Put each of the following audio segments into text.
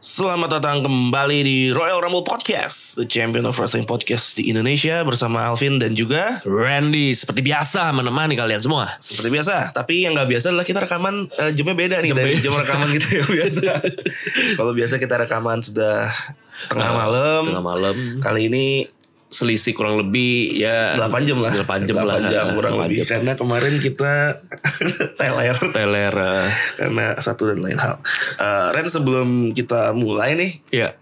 Selamat datang kembali di Royal Rumble Podcast, the champion of wrestling podcast di Indonesia bersama Alvin dan juga Randy seperti biasa menemani kalian semua. seperti biasa. Tapi yang nggak biasa adalah kita rekaman eh, jamnya beda nih Jam dari beda. jam rekaman kita yang biasa. Kalau biasa kita rekaman sudah tengah malam. Tengah malam. Kali ini Selisih kurang lebih ya 8 jam lah. 8 jam 8 lah. jam kurang 8 lebih jam. karena kemarin kita teler Teler. eh, karena satu dan lain hal. Eh, Ren sebelum kita mulai nih Iya.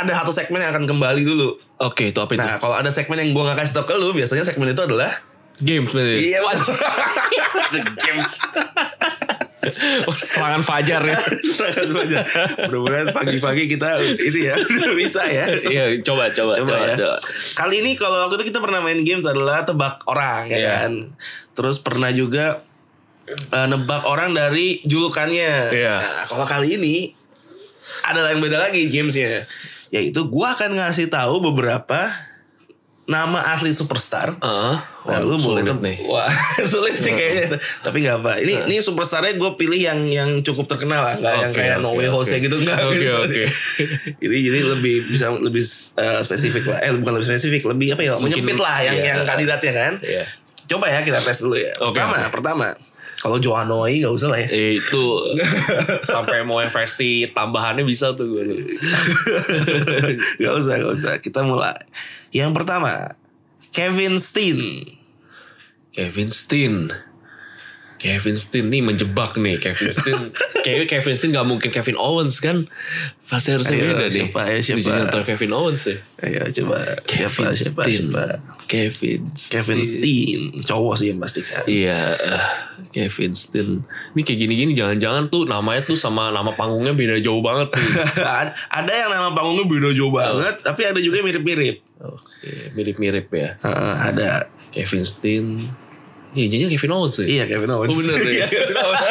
ada satu segmen yang akan kembali dulu. Oke, itu apa itu? Nah, kalau ada segmen yang gua gak kasih tau ke lu, biasanya segmen itu adalah Games bener. Iya, Wah, betul. The games. Wah, Serangan Fajar ya. Serahkan aja. Mudah-mudahan pagi-pagi kita ini ya udah bisa ya. Iya, coba coba Coba, coba. ya. coba. Kali ini kalau waktu itu kita pernah main games adalah tebak orang ya Iya. kan. Terus pernah juga eh, nebak orang dari julukannya. Iya. Nah, kalau kali ini ada yang beda lagi gamesnya. Yaitu gua akan ngasih tahu beberapa nama asli superstar. Heeh. Nah, lu boleh Ah, sulit tem- nih. Nah. Wah, sulit sih kayaknya. Tapi nggak apa. Ini ini superstarnya gue pilih yang yang cukup terkenal lah, nggak yang Oke, kayak No oke, Way Jose oke. gitu nggak. Oke, gitu. oke. Jadi jadi lebih bisa lebih eh, spesifik lah. Eh bukan lebih spesifik, lebih apa ya? Mungkin- menyempit lah yang iya. yang kandidatnya kan. Iya. Coba ya kita tes dulu ya. Oke, pertama, oke. pertama. Kalau Joanoi nggak usah lah ya. Eh, itu sampai mau yang versi tambahannya bisa tuh gue. tuh. Gak usah, gak usah. Kita mulai. Yang pertama, Kevin Steen. Kevin Steen. Kevin Steen nih menjebak nih Kevin Steen. Kayaknya Kevin Steen gak mungkin Kevin Owens kan. Pasti harusnya Ayo, beda nih. siapa, ayo, siapa? Ujungnya atau Kevin Owens ya. Ayo coba siapa siapa siapa. Kevin Steen. Kevin Steen, cowok sih yang pasti kan. Iya. eh, Kevin Steen. Ini kayak gini-gini jangan-jangan tuh namanya tuh sama nama panggungnya beda jauh banget tuh. Ad- ada yang nama panggungnya beda jauh banget, tapi ada juga yang mirip-mirip. Oke, mirip-mirip ya. Heeh, ada. Kevin Steen. Iya, jadinya Kevin Owens ya. Iya Kevin Owens. Oh, bener tuh ya? Iya, Kevin Owens.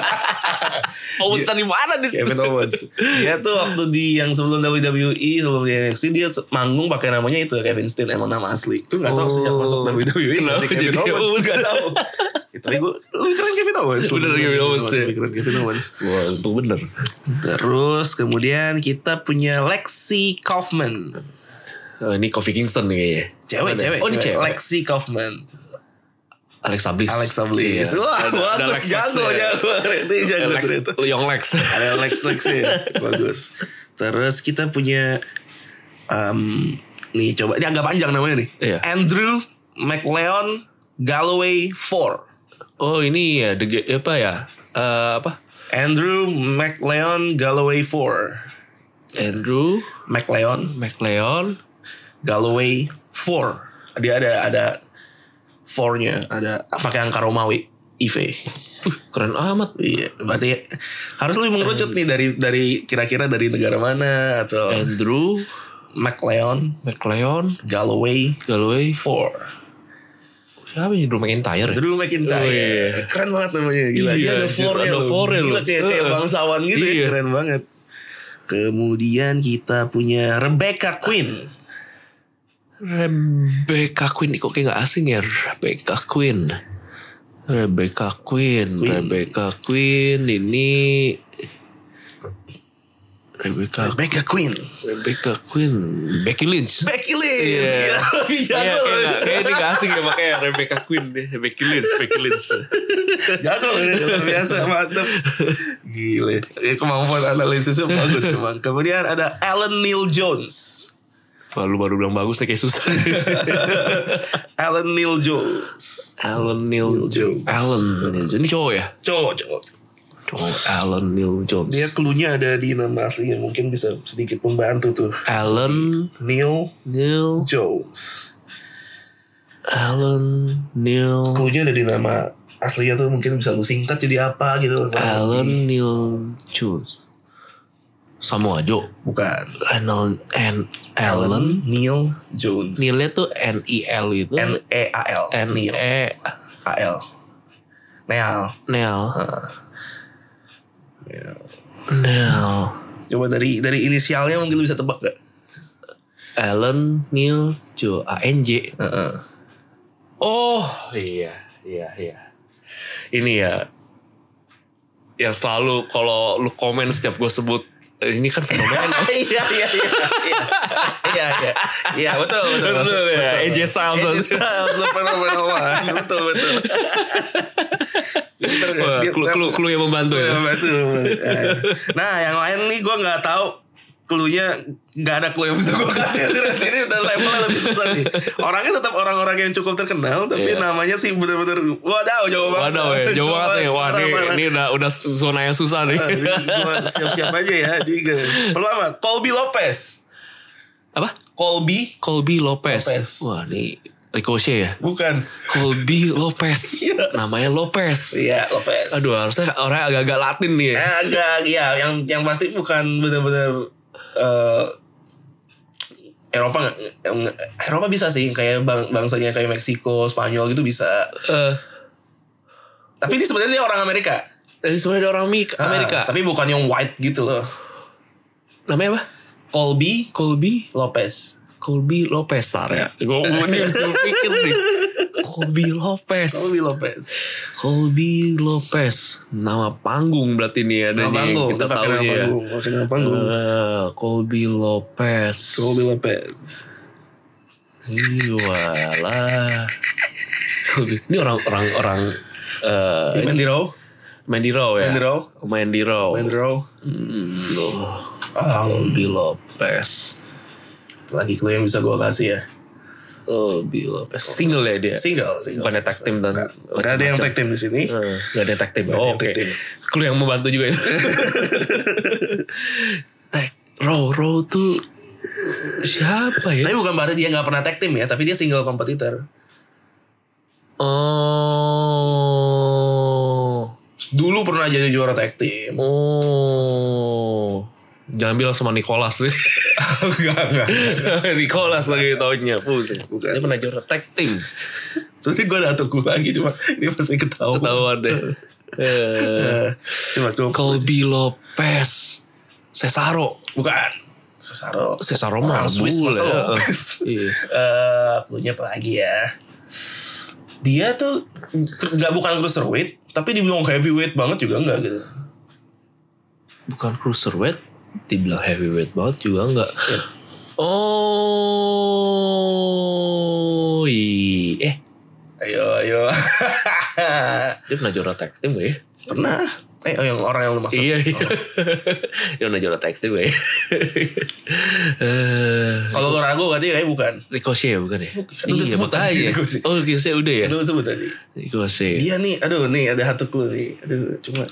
Owens tadi mana di situ? Kevin Owens. Dia tuh waktu di yang sebelum WWE, sebelum di NXT dia se- manggung pakai namanya itu Kevin Steen emang nama asli. Itu enggak tahu Oh. sejak masuk WWE Kenapa jadi Kevin jadi Owens Owens? enggak tahu. Itu gue lebih keren Kevin Owens. Bener Lebih Kevin Owens, ya. Lebih keren Kevin Owens. Wah, itu bener. Terus kemudian kita punya Lexi Kaufman. Eh, ini Kofi Kingston nih kayaknya. Cewek, Ada. cewek, Oh, ini cewek. Lexi Kaufman. Alexa Bliss. Alexa Bliss. Iya. Wah, Ada- ada bagus Lex jago Lex, ya. jago. Ini jago Lex- ternyata. Young Lex. Ada Lex Lex ya. Bagus. Terus kita punya um, nih coba ini agak panjang namanya nih. Iya. Andrew McLeon Galloway 4. Oh ini ya, the, Ge- apa ya? Eh, apa? Andrew McLeon Galloway 4. Andrew McLeon McLeon. Galloway 4. Dia ada ada 4-nya, ada pakai angka Romawi. IV. Uh, keren amat. Iya, berarti harus lebih mengerucut nih dari dari kira-kira dari negara mana atau Eh. Andrew McLeon, McLeon. Galloway, Galloway. Four, Siapa ini? Drew McIntyre ya? Drew McIntyre. Oh, iya. Keren banget namanya gila. Dia Iya, ada anjir, four-nya ada loh. four-nya Gila, loh. kayak, kayak Heeh. bangsawan gitu ya, Iya. keren banget. Kemudian kita punya Rebecca Queen. Rebecca Queen. Kok kayak gak asing ya? Rebecca Queen. Rebecca Queen. Queen. Rebecca Queen. Ini... Rebecca Rebecca Queen. Rebecca Queen, Becky Lynch. Becky Lynch. Iya. Gila, lebih Iya, jago kayak loh. nggak- kayak ini gak asing ya makanya Rebecca Queen deh, Becky Lynch, Becky Lynch. Jago ini luar biasa mantep. Gile. Ya, kemampuan analisisnya bagus memang. Kemudian ada Alan Neil Jones. Wah, lu baru bilang bagus nih kayak susah. Alan Neil Jones. Alan Neil, Neil Jones. Alan Neil Jones. Ini cowok ya? Cowok, cowok. Cowok Alan Neil Jones. Dia cluenya ada di nama aslinya. Mungkin bisa sedikit membantu tuh. Alan Neil Neil Jones. Alan Neil Cluenya ada di nama aslinya tuh mungkin bisa lu singkat jadi apa gitu. Alan Neil Jones. Samoa Joe. Bukan. Arnold and Allen. Neil Jones. Nilnya tuh N I L itu. N E A L. N Neil. E A L. Neal. Neil. Ya. Neil. Coba dari dari inisialnya mungkin lu bisa tebak gak? Allen Neil Joe A N J. Heeh. Oh iya iya iya. Ini ya yang selalu kalau lu komen setiap gue sebut "Eh, ini kan fenomena. Iya iya iya iya. iya iya iya betul betul Betul, ya. AJ Styles. AJ Styles fenomenal one. betul betul Pinter ya. Wah, Dia- Iya, Clue, clue, clue yang membantu ya. Betul. Nah yang lain nih gue nggak tahu Cluenya nggak ada clue yang bisa gue kasih Ini udah levelnya lebih susah nih Orangnya tetap orang-orang yang cukup terkenal Tapi Iya. namanya sih bener-bener Wadaw jauh banget Waduh ya, jauh banget nih. Wah ini, Parah-parah. ini udah, udah zona yang susah nih. Nah, jadi gua siap-siap aja ya. Jadi gua- pertama Colby Lopez. Apa? Colby Colby Lopez. Lopez. Wah ini Ricochet ya. bukan. Colby Lopez. Iya. Namanya Lopez. Iya Lopez. Aduh harusnya orang agak-agak Latin nih ya. Eh, agak ya yang yang pasti bukan benar-benar eh, Eropa nggak- nggak- Eropa bisa sih kayak bang, bangsanya kayak Meksiko, Spanyol gitu bisa. Eh, Tapi ini sebenarnya dia orang Amerika. Tapi Eh, sebenarnya ada orang Mik Ah, Amerika. tapi bukan yang white gitu loh. Namanya apa? Colby Colby Lopez. Colby Lopez tar ya. Gue gue nih disuruh pikir nih. Colby Lopez. Colby Lopez. Colby Lopez. Nama panggung berarti nih Nama ada nih yang panggung, kita kita pakai tahu nama nih ya. panggung, pakai nama panggung. Eh, Colby Lopez. Colby Lopez. Iyalah. Colby- Ini orang orang orang eh Dia main di Raw, Mandy Rowe ya. Mandy Rowe. Mandy Rowe. main di Raw. Hmm, loh. Ah, Colby Lopez. lagi clue yang bisa gue kasih ya Colby Lopez. Single ya dia. single single Bukan tag team dan Nggak- nggak ada yang macam-macam. tag team di sini Eh, Gak ada tag team. Gak ada Oh, yang Oke. tag team. Clue yang membantu juga itu. tag row row tuh siapa ya? tapi bukan berarti dia nggak pernah tag team ya tapi dia single kompetitor Oh. dulu pernah jadi juara tag team Oh. Jangan bilang sama Nicholas sih. enggak enggak Nicholas lagi taunya. Pusing. Bukan. Dia pernah juara tag team. sebenarnya gue ada tuh lagi cuma dia pasti ketahuan Ketahuan deh. Eh, Eh, cuma gue Colby Lopez. Cesaro. bukan Cesaro Cesaro Orang mah Swiss bule. masa Eh, Lopez Iya. Eh, cluenya apa lagi ya dia tuh nggak bukan cruiserweight tapi dibilang heavyweight banget juga enggak gitu bukan cruiserweight dibilang heavyweight banget juga enggak oh i- eh ayo ayo dia pernah juara tag team gak ya pernah eh oh, yang orang yang lu maksud iya iya dia pernah juara tag team gak ya Eh, Kalau lo ragu berarti kayak bukan. Ricochet ya bukan ya? Bukan, udah sebut tadi makanya. Ricochet. Iya. Oh Ricochet udah ya? Lo sebut tadi. Ricochet. Dia, Dia nih, aduh nih ada satu clue nih. Aduh, cuma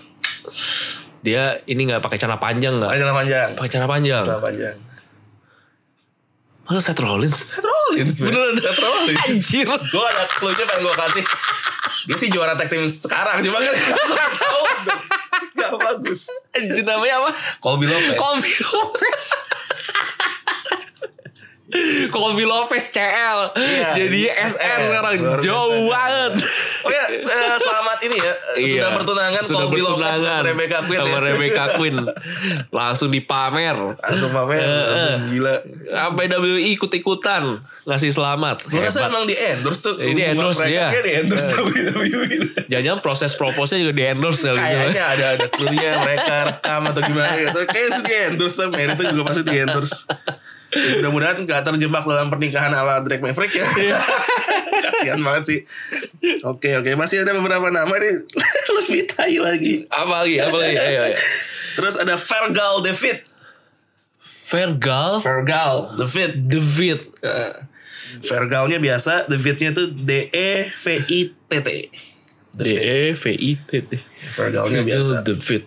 ini gak pakai celana panjang gak? pakai celana panjang. Pakai celana panjang. Celana panjang. Masa Seth Rollins? Seth Rollins. men. Beneran. Seth Rollins. Anjir. Gue ada clue-nya pengen gue kasih. Dia sih juara tag team sekarang, cuma kan langsung tahu. dong. Gak bagus. Anjir namanya apa? Colby Lopez. Colby Lopez. Colby Lopez CL. Iya, ini Jadi SR SR, sekarang luar biasa. iya. jauh banget. Oh ya, eh, selamat ini ya. Iya, Sudah bertunangan sudah Colby Lopez bertunangan dan Rebecca Quinn. sama ya. Rebecca Quinn langsung dipamer Langsung pamer, langsung gila. sampai WWE ikut ikutan ngasih selamat Gue rasa hebat emang di endorse tuh. Ini endorse, mereka iya. kayak di endorse WWE. jangan proses proposnya juga di endorse kali ya. kayaknya ada ada clue-nya mereka rekam atau gimana gitu. Kayaknya sih di endorse lah. Mary itu juga pasti di endorse. Ya, mudah-mudahan gak terjebak dalam pernikahan ala Drake Maverick ya. Iya. Kasihan banget sih. Oke oke masih ada beberapa nama nih lebih tai lagi. apa lagi apa lagi ayo ayo Terus ada Fergal David. Vergal Fergal David. David Eh, Fergalnya biasa, Davidnya tuh D E V I T T. D E V I T T Fergalnya biasa. David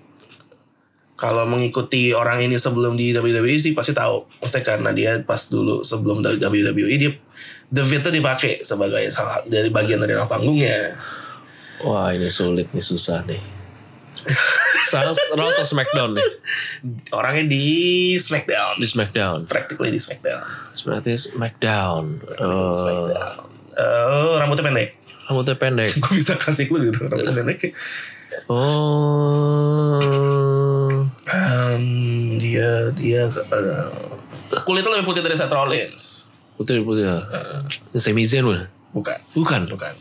kalau mengikuti orang ini sebelum di WWE sih pasti tahu. Maksudnya karena dia pas dulu sebelum E, dari WWE dia The Fit tuh dipakai sebagai salah dari bagian dari nama panggungnya. wah ini sulit nih susah nih Saus Raw atau Smackdown nih? Orangnya di Smackdown. Di Smackdown. Practically di Smackdown. Berarti Smackdown. Di Eh, Smackdown. Eh, rambutnya pendek. rambutnya pendek. Gue bisa kasih clue gitu rambutnya pendek. Oh. Em, dia dia eh, kulitnya lebih putih dari Seth Rollins. Putih putih. ya. Ini Sami Zayn bukan? Bukan. Bukan. Bukan.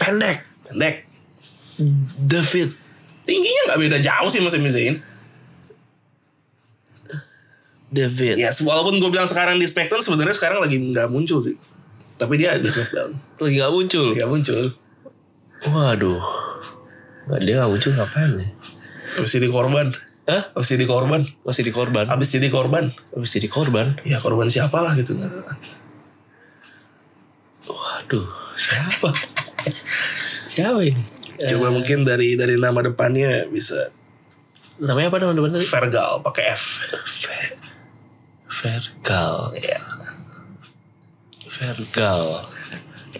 Pendek. Pendek. David. Tingginya nggak beda jauh sih sama Sami Zayn. David. Ya, walaupun gue bilang sekarang di Smackdown sebenarnya sekarang lagi nggak muncul sih. Tapi dia di Smackdown. Lagi gak muncul. Nggak muncul. Waduh. Nggak, Dia gak muncul ngapain ya? Habis jadi korban. Hah? Habis jadi korban. Masih di korban. Habis jadi korban. Habis jadi korban. Ya korban siapa lah gitu. Waduh. Siapa? siapa ini? Eh, Coba mungkin dari dari nama depannya bisa namanya apa nama teman Vergal pakai F. Ver Vergal. Ya. Vergal.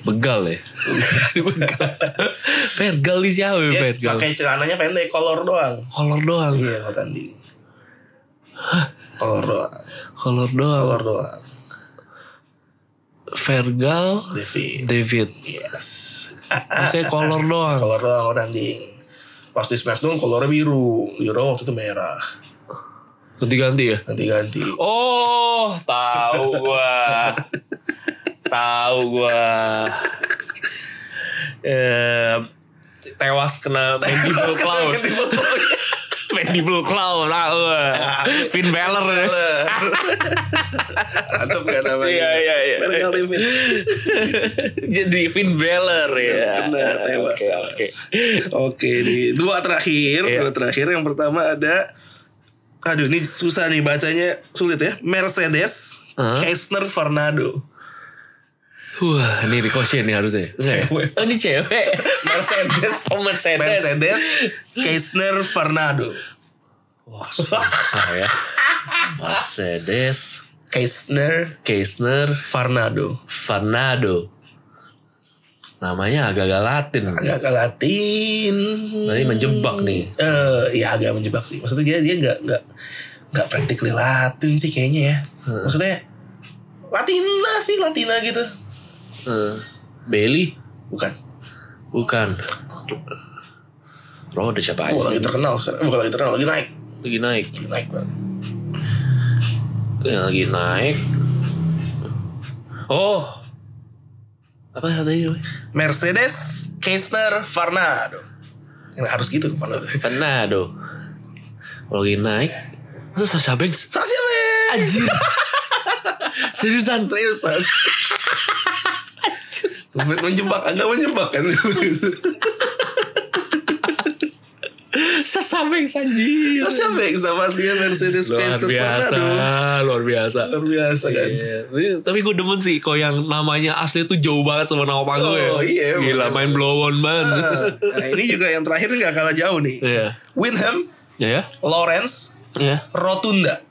Begal ya? Begal. Vergal di siapa ya, Dia Vergal? pakai celananya pendek kolor doang. Kolor doang. Iya kalau tanding. Kolor doang. Kolor doang. Kolor doang. Vergal Devi. David. Yes. Pakai kolor doang. Kolor doang kalau tanding. Pas di Smackdown kolornya biru. Biru waktu itu merah. Ganti-ganti ya? Ganti-ganti. Oh, tahu gua. tahu gua. Eh, tewas kena Mandy Blue Claw. Mandy Blue Claw, tahu gua. Finn Balor. ya. Mantap kan namanya. Iya, iya, iya. Vergal David. Jadi Finn Balor ya. Benar, tewas, Oke, tewas. oke. Oke, di dua terakhir, Iya. dua terakhir yang pertama ada Aduh, ini susah nih bacanya, sulit ya. Mercedes Hah? Keisner Fernando. Wah, ini ricochet nih harusnya. Enggak ya? Cewek. Oh, ini cewek. Mercedes Oh, Mercedes. Mercedes Keisner Fernando. Wah, susah ya. Mercedes, Keisner Keisner, Fernando. Fernando. Namanya agak-agak Latin. Agak ke Latin. Tadi menjebak nih. Eh, ya agak menjebak sih. Maksudnya dia dia nggak nggak nggak practically Latin sih kayaknya ya. Hmm. Maksudnya Latina sih Latina gitu. Eh, Bailey? Bukan. Bukan. Roh ada siapa Oh, aja lagi sih? terkenal sekarang. Bukan lagi terkenal, lagi naik. Lagi naik. Lagi naik banget. Yang lagi naik. Oh. Apa tadi namanya? Mercedes Keisner Fernando. Ini harus gitu Fernando. Fernando. Kalau lagi naik. Masa Sasha Banks? Sasha Banks. Anjir. Seriusan. Seriusan. menjebak, agak menjebak kan. Sasha Banks anjir. Sasha Banks sama si ya, Mercedes Luar Christopher biasa. Fernando. Luar biasa. Luar biasa kan. Iya. Tapi- Tapi gue demen sih kok yang namanya asli tuh jauh banget sama nama panggung ya. Oh, iya, bener. Gila main blow on banget. Nah ini juga yang terakhir nggak kalah jauh nih. Iya. Winham, Ya ya. Lawrence, Ya. Rotunda.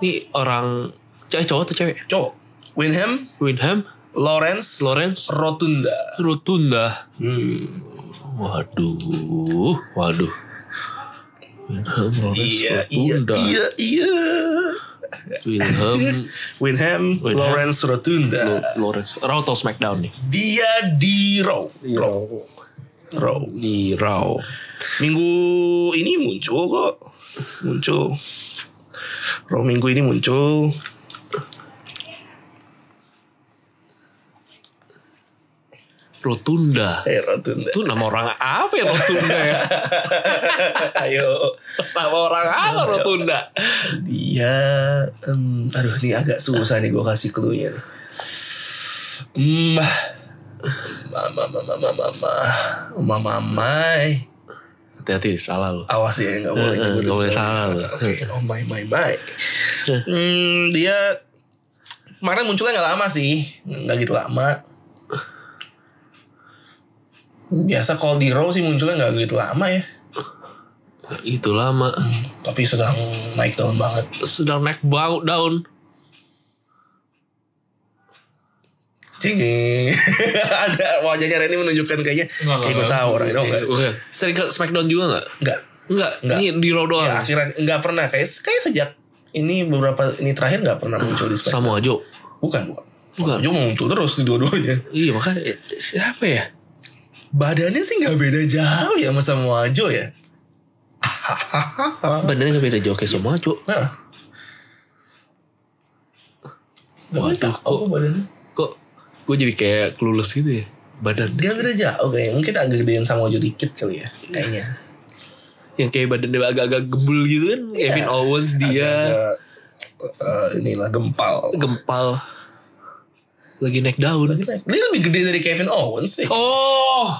Ini orang cewek cowok atau cewek? Cowok. Winham, Winham, Lawrence, Lawrence, Rotunda. Rotunda. Hmm. Waduh, waduh. Winham, Lawrence, Iya, iya, Rotunda. iya, iya. Winham, Winham, Wyndham, Lawrence, Rotunda. Lo- Lawrence. Raw atau SmackDown nih? Dia di Raw. Iya. Raw. Raw. Di Raw. Minggu ini muncul kok. Muncul. Raw minggu ini muncul. Rotunda. Eh, Rotunda. Itu nama orang apa ya Rotunda ya? Ayo. nama orang apa Rotunda? Dia, Iya, em, aduh ini agak susah nih gue kasih clue-nya nih. Mama, mama, mama, mama, mama, mama, Hati-hati, salah lo. awas ya nggak boleh Eh, eh, nyebutin nggak boleh salah. salah. Eh. Oke, oh my my my. Hmm, dia kemarin munculnya nggak lama sih, nggak gitu lama. Biasa kalau di Raw sih munculnya nggak gitu lama ya, Itu lama. tapi sedang naik daun banget. Sedang naik bau daun. Cing, cing. ada wajahnya Randy menunjukkan kayaknya kayak gue tahu Oh, orang itu enggak Oke. Sering ke Smackdown juga nggak? enggak Enggak, Enggak. ini di Raw doang. Ya, akhirnya nggak pernah kayak kayak sejak ini beberapa ini terakhir nggak pernah muncul di SmackDown. Samoa Joe. Bukan, bukan. Bukan. Joe mau muncul terus di dua-duanya. Iya makanya siapa ya? Badannya sih nggak beda jauh ya sama Samoa Joe ya. Badannya nggak beda Joe kayak Samoa Joe. Nah. Tapi Waduh, tahu badannya. Kok gue jadi kayak clueless gitu ya badan. Dia beda jauh kayaknya. Mungkin agak gedean sama Joe dikit kali ya. Kayaknya. Yang kayak badan dia agak-agak gembul gitu kan. Kevin Owens dia Agak, eh, inilah gempal. gempal lagi naik daun. Dia lebih gede dari Kevin Owens sih. Oh,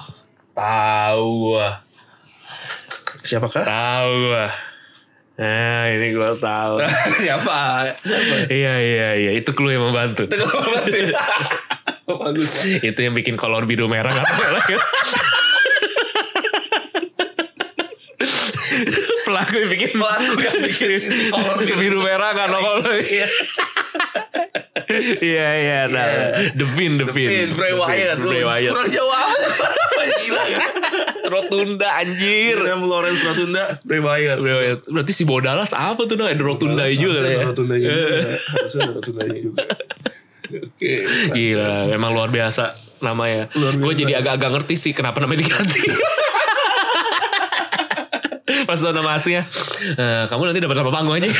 tahu gua. Siapakah? Tahu gua. Nah, ini gua tahu. Siapa? Siapa? iya, iya, iya, itu clue yang membantu. Teguh Batin. Oh, Bagus. ya. itu yang bikin kolor biru merah nggak tahu lagi. Pelaku yang bikin Pelaku yang bikin kolor biru. biru merah nggak nongol. Iya. Iya iya, nah, The Fin, The Fin, Pin, Bray The Fin, Wyatt. lu Bray Wyatt, Kurang jauh amat. Gila kan? Rotunda anjir, Sam Lawrence Rotunda, Bray Wyatt. Bray Wyatt. Berarti si Bodalas apa tuh, no? Ada Rotunda Harusnya juga ada kali ya. Rotundanya juga. Harusnya ada rotundanya juga. Oke. Gila, emang luar biasa namanya. Luar Gue biasa. jadi agak-agak ngerti sih kenapa namanya diganti. Pas tau nama aslinya, "Eh, kamu nanti dapat nama panggung aja.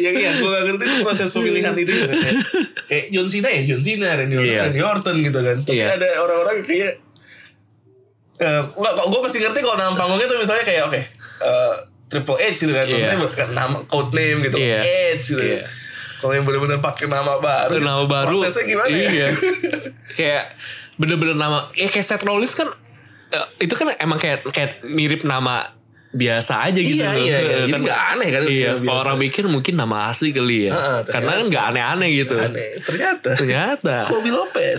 Iya iya, gue gak ngerti tuh proses pemilihan itu juga. Kayak, kayak John Cena ya, John Cena, Randy Orton, Iya. Randy Orton gitu kan. Tapi Iya. ada orang-orang yang kayak eh gue masih ngerti kalau nama panggungnya tuh misalnya kayak oke eh, Triple H gitu kan, maksudnya Iya. bukan nama code name gitu, Iya. H gitu. Iya. Kalau yang benar-benar pakai nama baru, gitu, nama baru. prosesnya gimana? ya? Iya. kayak bener-bener nama, ya kayak Seth Rollins kan, eh, itu kan emang kayak kayak mirip nama biasa aja gitu. Iya, iya, iya. Jadi nggak aneh kan, Iya, biasa. kalau orang mikir mungkin nama asli kali ya. Heeh, ternyata. Karena kan nggak aneh-aneh gitu. Aneh, ternyata. Ternyata. Kobe Lopez.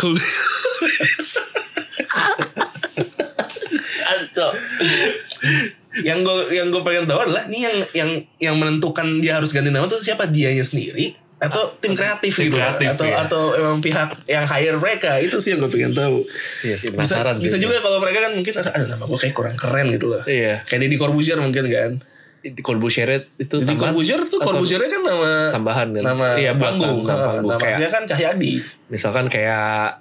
yang gue yang gue pengen tahu adalah nih yang yang yang menentukan dia harus ganti nama tuh siapa dianya sendiri atau tim kreatif Ah, Tim gitu loh. kreatif, atau ya. atau emang pihak yang hire mereka itu sih yang gue pengen tahu Iya sih, bisa penasaran sih. bisa juga kalau mereka kan mungkin ada, ada nama gue kayak kurang keren gitu loh Iya. kayak Deddy Corbuzier mungkin kan di Corbusier itu Deddy tambahan Corbuzier tuh atau Corbuziernya kan nama tambahan kan? nama Iya, buat panggung, nama Nah, panggung. nama Kayak- aslinya kan Cahyadi misalkan kayak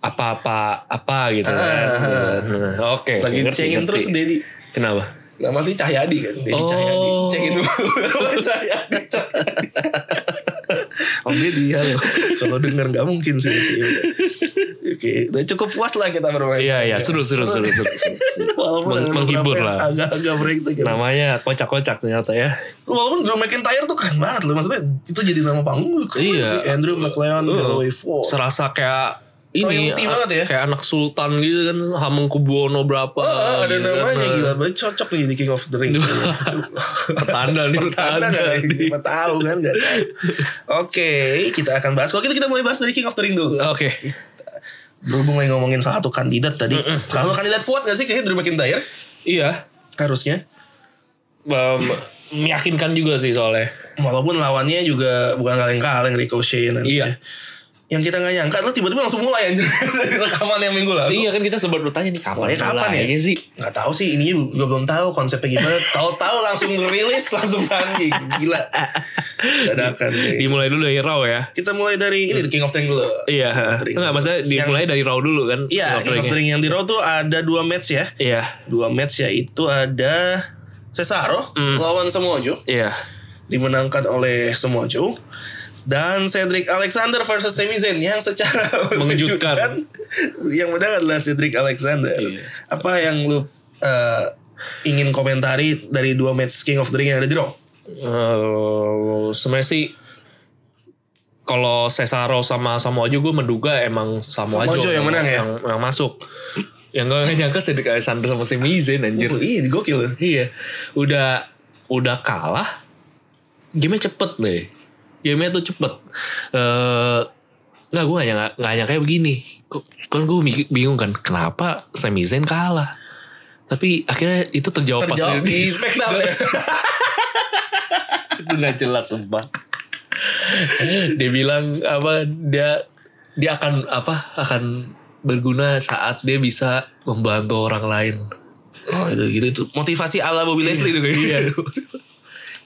apa-apa apa gitu kan. Ah, Nah, Oke. lagi ngerti, cengin ngerti. terus Deddy Kenapa? Nama asli Cahyadi kan Deddy Oh. Cahyadi Cekin dulu Cahyadi Cahyadi Om Deddy halo Kalau denger gak mungkin sih Ya udah. Oke Udah cukup puas lah kita bermain Iya iya seru seru seru seru. Walaupun Meng- ada beberapa menghibur yang lah. Agak-agak brengsek ya. Namanya kocak-kocak ternyata ya. Walaupun Drew McIntyre tuh keren banget loh Maksudnya itu jadi nama panggung keren Iya. Oh, sih Andrew McLeon Galloway Four Serasa kayak ini Oh. Royalty banget ya. kayak anak sultan gitu kan Hamengkubuwono berapa Wah, oh, ada gitu namanya kan. gila banget cocok nih jadi King of the Ring. Pertanda nih, pertanda nggak pertanda nih. nih. Nggak tahu kan nggak tahu. Oke, kita akan bahas. Kalau gitu kita mulai bahas dari King of the Ring dulu. Oke. Berhubung lagi ngomongin satu kandidat tadi. Kalau kandidat kuat gak sih kayaknya Drew McIntyre? Iya. Harusnya. Um, meyakinkan juga sih soalnya. Walaupun lawannya juga bukan kaleng-kaleng Ricochet nanti. Iya. Yang kita nggak nyangka lo tiba-tiba langsung mulai anjir dari rekaman yang minggu lalu. Iya kan kita sempat bertanya nih kapan Mulai kapan ya? mulainya sih? Nggak tahu sih, ini juga belum tahu konsepnya gimana. Tahu-tahu langsung rilis, langsung tanding. Gila. Dadakan. kayak. Dimulai dulu dari Raw ya. Kita mulai dari ini The King of the Ring dulu. Iya. King of the Ring. Enggak maksudnya dimulai dari Raw dulu kan. Iya, King of the Ring-nya. Ring yang di Raw tuh ada dua match ya. Iya. Dua match yaitu ada Cesaro Hmm. lawan Samojo Iya. dimenangkan oleh Samojo dan Cedric Alexander versus Sami Zayn yang secara Mengejutkan. yang menang adalah Cedric Alexander. Iya. Apa yang lu eh, ingin komentari dari dua match King of the Ring yang ada di Raw? Eh, sebenarnya sih kalau Cesaro sama Samoa Joe gue menduga emang Samoa Samoa Joe Joe yang menang ya? yang, yang masuk. yang gue nyangka Cedric Alexander sama Sami Zayn anjir. Oh, iya, gokil. Iya, udah udah kalah. Game cepet nih. Game tuh cepet. Eh nggak gue hanya nggak hanya kayak begini. Kok- Kan gue bingung kan kenapa Sami Zayn kalah. Tapi akhirnya itu terjawab, Terjawab pas di SmackDown ya. itu nggak jelas sumpah. dia bilang apa dia dia akan apa akan berguna saat dia bisa membantu orang lain. Oh itu gitu itu motivasi ala Bobby Iya. Leslie itu kayaknya.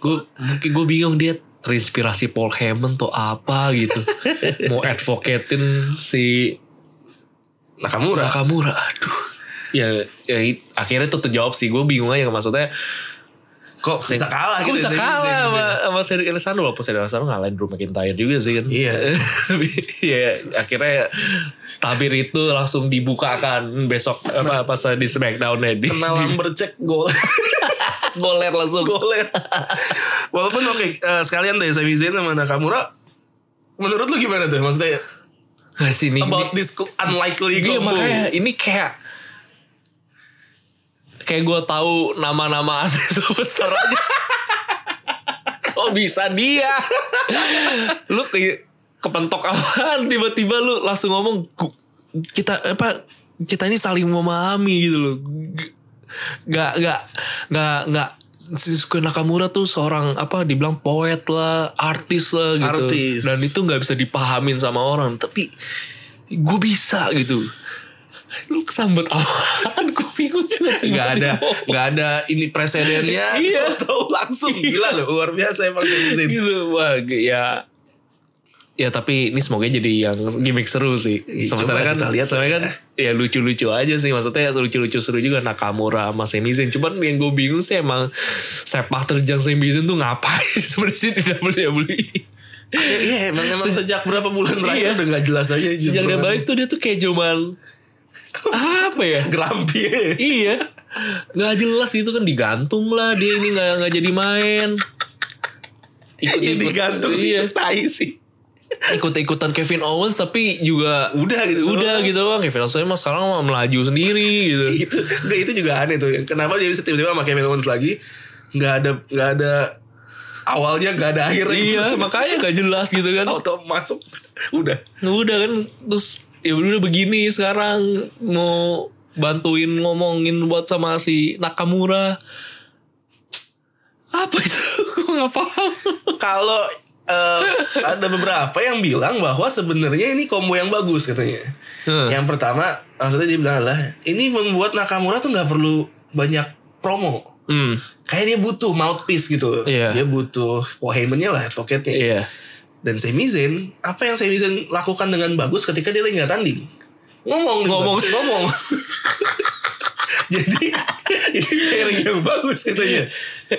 gue mungkin gue bingung dia terinspirasi Paul Heyman atau apa gitu mau advocatein si Nakamura. Nakamura aduh ya, ya it- akhirnya tuh terjawab sih gue bingung aja maksudnya Kok bisa kalah gitu? Kok bisa ya, kalah gitu ya. sama, sama Cedric Alexander walaupun Cedric Alexander ngalahin Drew McIntyre juga sih kan Iya. Tapi, ya akhirnya tabir itu langsung dibukakan besok apa pas di Smackdown nya di Kena lumberjack gol. goler langsung Goler. Walaupun oke eh, sekalian deh Sami Zayn sama Nakamura. Menurut lu gimana tuh? Maksudnya Nah, sini about this co- unlikely Iya combo. makanya ini kayak kayak gue tahu nama-nama asli superstar aja. Kok bisa dia? lu kayak kepentok apaan tiba-tiba lu langsung ngomong "Gu- kita apa kita ini saling memahami gitu loh. G- Gak gak gak gak Shinsuke Nakamura tuh seorang apa dibilang poet lah, artis lah gitu. Artis. Dan itu nggak bisa dipahamin sama orang, tapi gue bisa gitu lu kesambet apaan gue bingung juga tiba-tiba Gak ada, dibawa. gak ada ini presidennya. Iya. Tahu langsung gila loh, luar biasa emang Sami Zayn. gitu wah g- ya ya tapi ini semoga jadi yang gimmick seru sih Ih, coba sebenarnya kan kita lihat sebenarnya lah kan ya lucu-lucu aja sih maksudnya lucu-lucu seru juga Nakamura sama Sami Zayn cuman yang gue bingung sih emang sepak terjang Sami Zayn tuh ngapain sebenarnya sih di E? WWE Ya, Iya, emang, emang sejak berapa bulan terakhir Iya. udah gak jelas aja. kan. sejak dia jujur. balik tuh dia tuh kayak cuman apa ya Grumpy. iya nggak jelas itu kan digantung lah dia ini nggak nggak jadi main ikut Ini digantung iya itu tai sih. ikut ikutan Kevin Owens tapi juga Udah gitu. udah gitu loh Kevin Owens emang sekarang mah melaju sendiri gitu itu enggak, itu juga aneh tuh kenapa dia bisa tiba-tiba sama Kevin Owens lagi nggak ada nggak ada awalnya nggak ada akhirnya iya gitu. makanya nggak jelas gitu kan Auto masuk udah udah kan terus ya udah begini sekarang mau bantuin ngomongin buat sama si Nakamura apa itu gue nggak paham kalau eh, ada beberapa yang bilang bahwa sebenarnya ini combo yang bagus katanya Hmm. yang pertama maksudnya dia bilang adalah ini membuat Nakamura tuh nggak perlu banyak promo hmm kayak dia butuh mouthpiece gitu Iya. dia butuh Heyman-nya lah advocate-nya iya Dan Sami Zayn, apa yang Sami Zayn lakukan dengan bagus ketika dia lagi nggak tanding? Ngomong, Ngomong. dia, ngomong. Jadi ini pairing yang bagus katanya.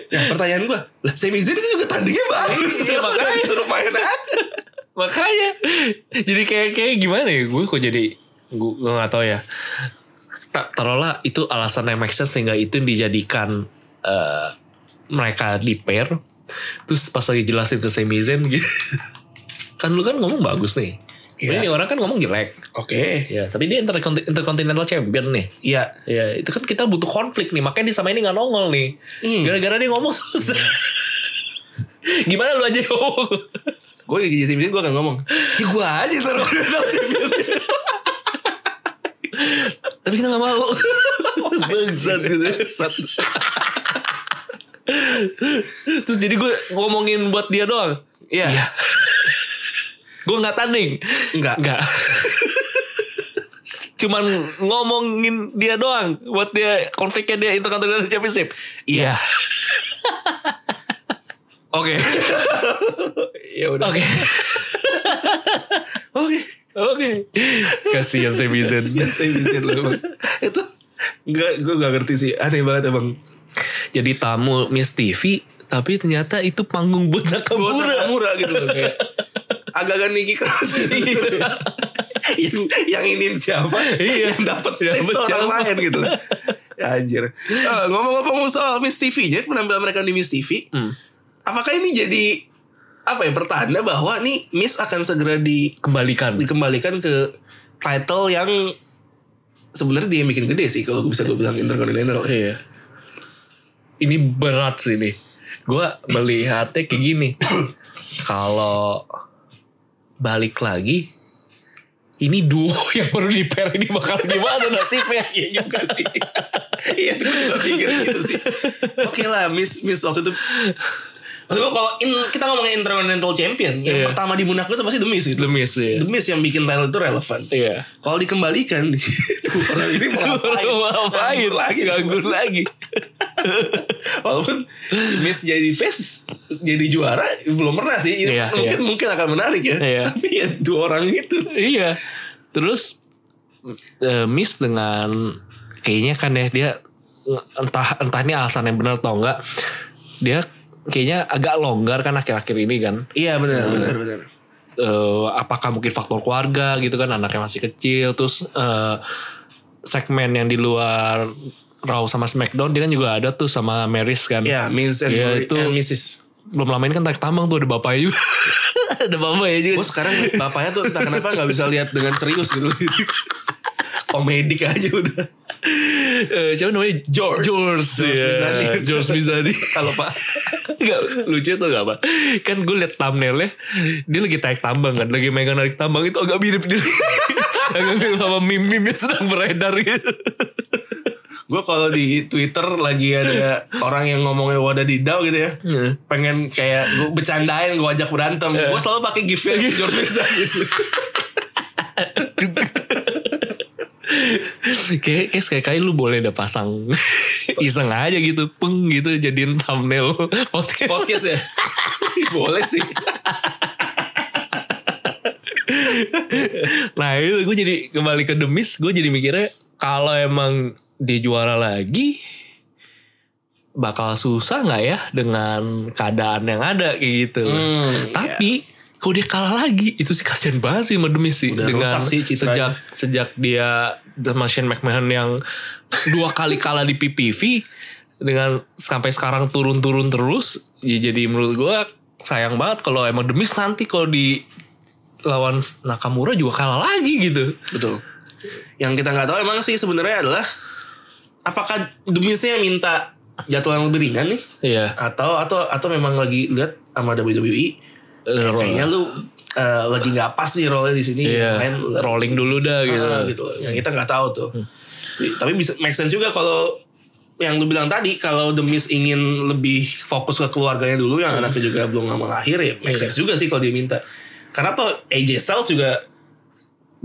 Nah, pertanyaan gua, lah Sami Zayn kan juga tandingnya bagus, Iya, kenapa makanya. nggak disuruh main aja? makanya jadi kayak kayak gimana ya gue kok jadi gue gue nggak tahu ya tak taruhlah itu alasan yang make sense sehingga itu yang dijadikan eh, mereka di pair terus pas lagi jelasin ke Sami Zayn gitu kan lu kan ngomong bagus nih Iya. Ini orang kan ngomong jelek Oke, ya tapi dia intercont- intercontinental champion nih iya. ya itu kan kita butuh konflik nih makanya dia sama ini nggak nongol nih gara-gara dia ngomong susah gimana lu aja yang ngomong Gue jadi Sami Zayn gue akan ngomong. Ya gue aja taruh tapi kita nggak mau Bangsat gitu. Bangsat. Terus jadi gue ngomongin buat dia doang. Iya. Gue nggak tanding. Enggak. Nggak. Cuman ngomongin dia doang buat dia konfliknya dia Intercontinental Championship. Iya. Oke. ya udah. Oke. Oke. Oke. Kasihan Sami Zayn. Kasihan Sami Zayn lu, Bang. Itu Enggak, gue gak ngerti sih. Aneh banget emang. Jadi tamu Miss TV tapi ternyata itu panggung buat Buat Nakamura. murah murah gitu loh kayak agak-agak Niki keras gitu. yang yang ingin siapa Iya. yang dapat Yang stage dapet tuh orang siapa. lain gitu loh. Ya, anjir Eh, ngomong-ngomong soal Miss TV nya penampilan mereka di Miss TV apakah ini jadi apa ya pertanda bahwa nih Miss akan segera di, Kembalikan. dikembalikan ke title yang sebenarnya dia yang bikin gede sih kalau bisa gue bilang intercontinental Iya. Ini berat sih nih. Gue melihatnya kayak gini. Kalau balik lagi, ini duo yang baru di pair ini bakal gimana nasibnya? Iya juga sih. Iya tuh gue juga pikir gitu sih. Oke lah, Miss Miss waktu itu Maksud gue kalau in- kita ngomongin Intercontinental Champion, yang Iya. pertama di Monaco itu pasti The Miz itu. The Miz ya. The Miz yang bikin title itu relevan. Iya. Kalau dikembalikan, tuh orang ini mau ngapain? Mau ngapain? Nganggur lagi. Nganggur lagi. Walaupun Miz jadi face, jadi juara belum pernah sih. Iya, mungkin iya. mungkin akan menarik ya. Iya. Tapi ya dua orang itu. Iya. Terus eh, Miss dengan kayaknya kan ya dia entah entah ini alasan yang benar atau enggak. Dia kayaknya agak longgar kan akhir-akhir ini kan. Iya benar benar benar. Eh, apakah mungkin faktor keluarga gitu kan anaknya masih kecil terus eh, segmen yang di luar Raw sama SmackDown dia kan juga ada tuh sama Marys kan. Iya Miz and, Iya, Mary- itu- and Mrs. Belum lama ini kan tarik tambang tuh ada bapaknya juga. ada bapaknya juga. Gue Oh, sekarang bapaknya tuh entah kenapa nggak bisa lihat dengan serius gitu. Komedik aja udah. Eh, siapa namanya? George. George. George iya. Mizani. George Mizani. Kalau Pak Nggak, lucu tuh gak apa. Kan gue liat thumbnailnya. Dia lagi tarik tambang kan. Lagi megang tarik tambang itu agak mirip dia. agak mirip sama meme-meme yang sedang beredar gitu. Gue kalau di Twitter lagi ada orang yang ngomongnya wadah didau gitu ya. Iya. Pengen kayak gue bercandain, gue ajak berantem. Gue selalu Eh. pakai gifnya George Mizani. kayak kayak sekali kali lu boleh udah pasang iseng aja gitu peng gitu jadiin thumbnail podcast, Podcast ya. Boleh sih. nah itu gue jadi kembali ke demis gue jadi mikirnya kalau emang dia juara lagi bakal susah nggak ya dengan keadaan yang ada kayak gitu Hmm, tapi kalau dia kalah lagi itu sih kasihan banget sih sama demis sih Udah dengan rusak sih citranya. sejak sejak dia sama Shane McMahon yang dua kali kalah di PPV dengan sampai sekarang turun-turun terus ya jadi menurut gua sayang banget kalau emang demis nanti kalau di lawan Nakamura juga kalah lagi gitu Betul. Yang kita nggak tahu emang sih sebenarnya adalah apakah demisnya minta jadwal yang lebih ringan nih iya atau atau atau memang lagi lihat sama WWE Eh, roll- kayaknya lu eh, lagi nggak pas nih role di sini iya main lu- rolling dulu Ah, dah gitu Hmm. gitu loh. yang kita nggak tahu tuh Tapi- tapi bisa make sense juga kalau yang lu bilang tadi kalau The Miz ingin lebih fokus ke keluarganya dulu Hmm. yang anaknya juga belum lama lahir ya make Iya. sense juga sih kalau dia minta karena tuh AJ Styles juga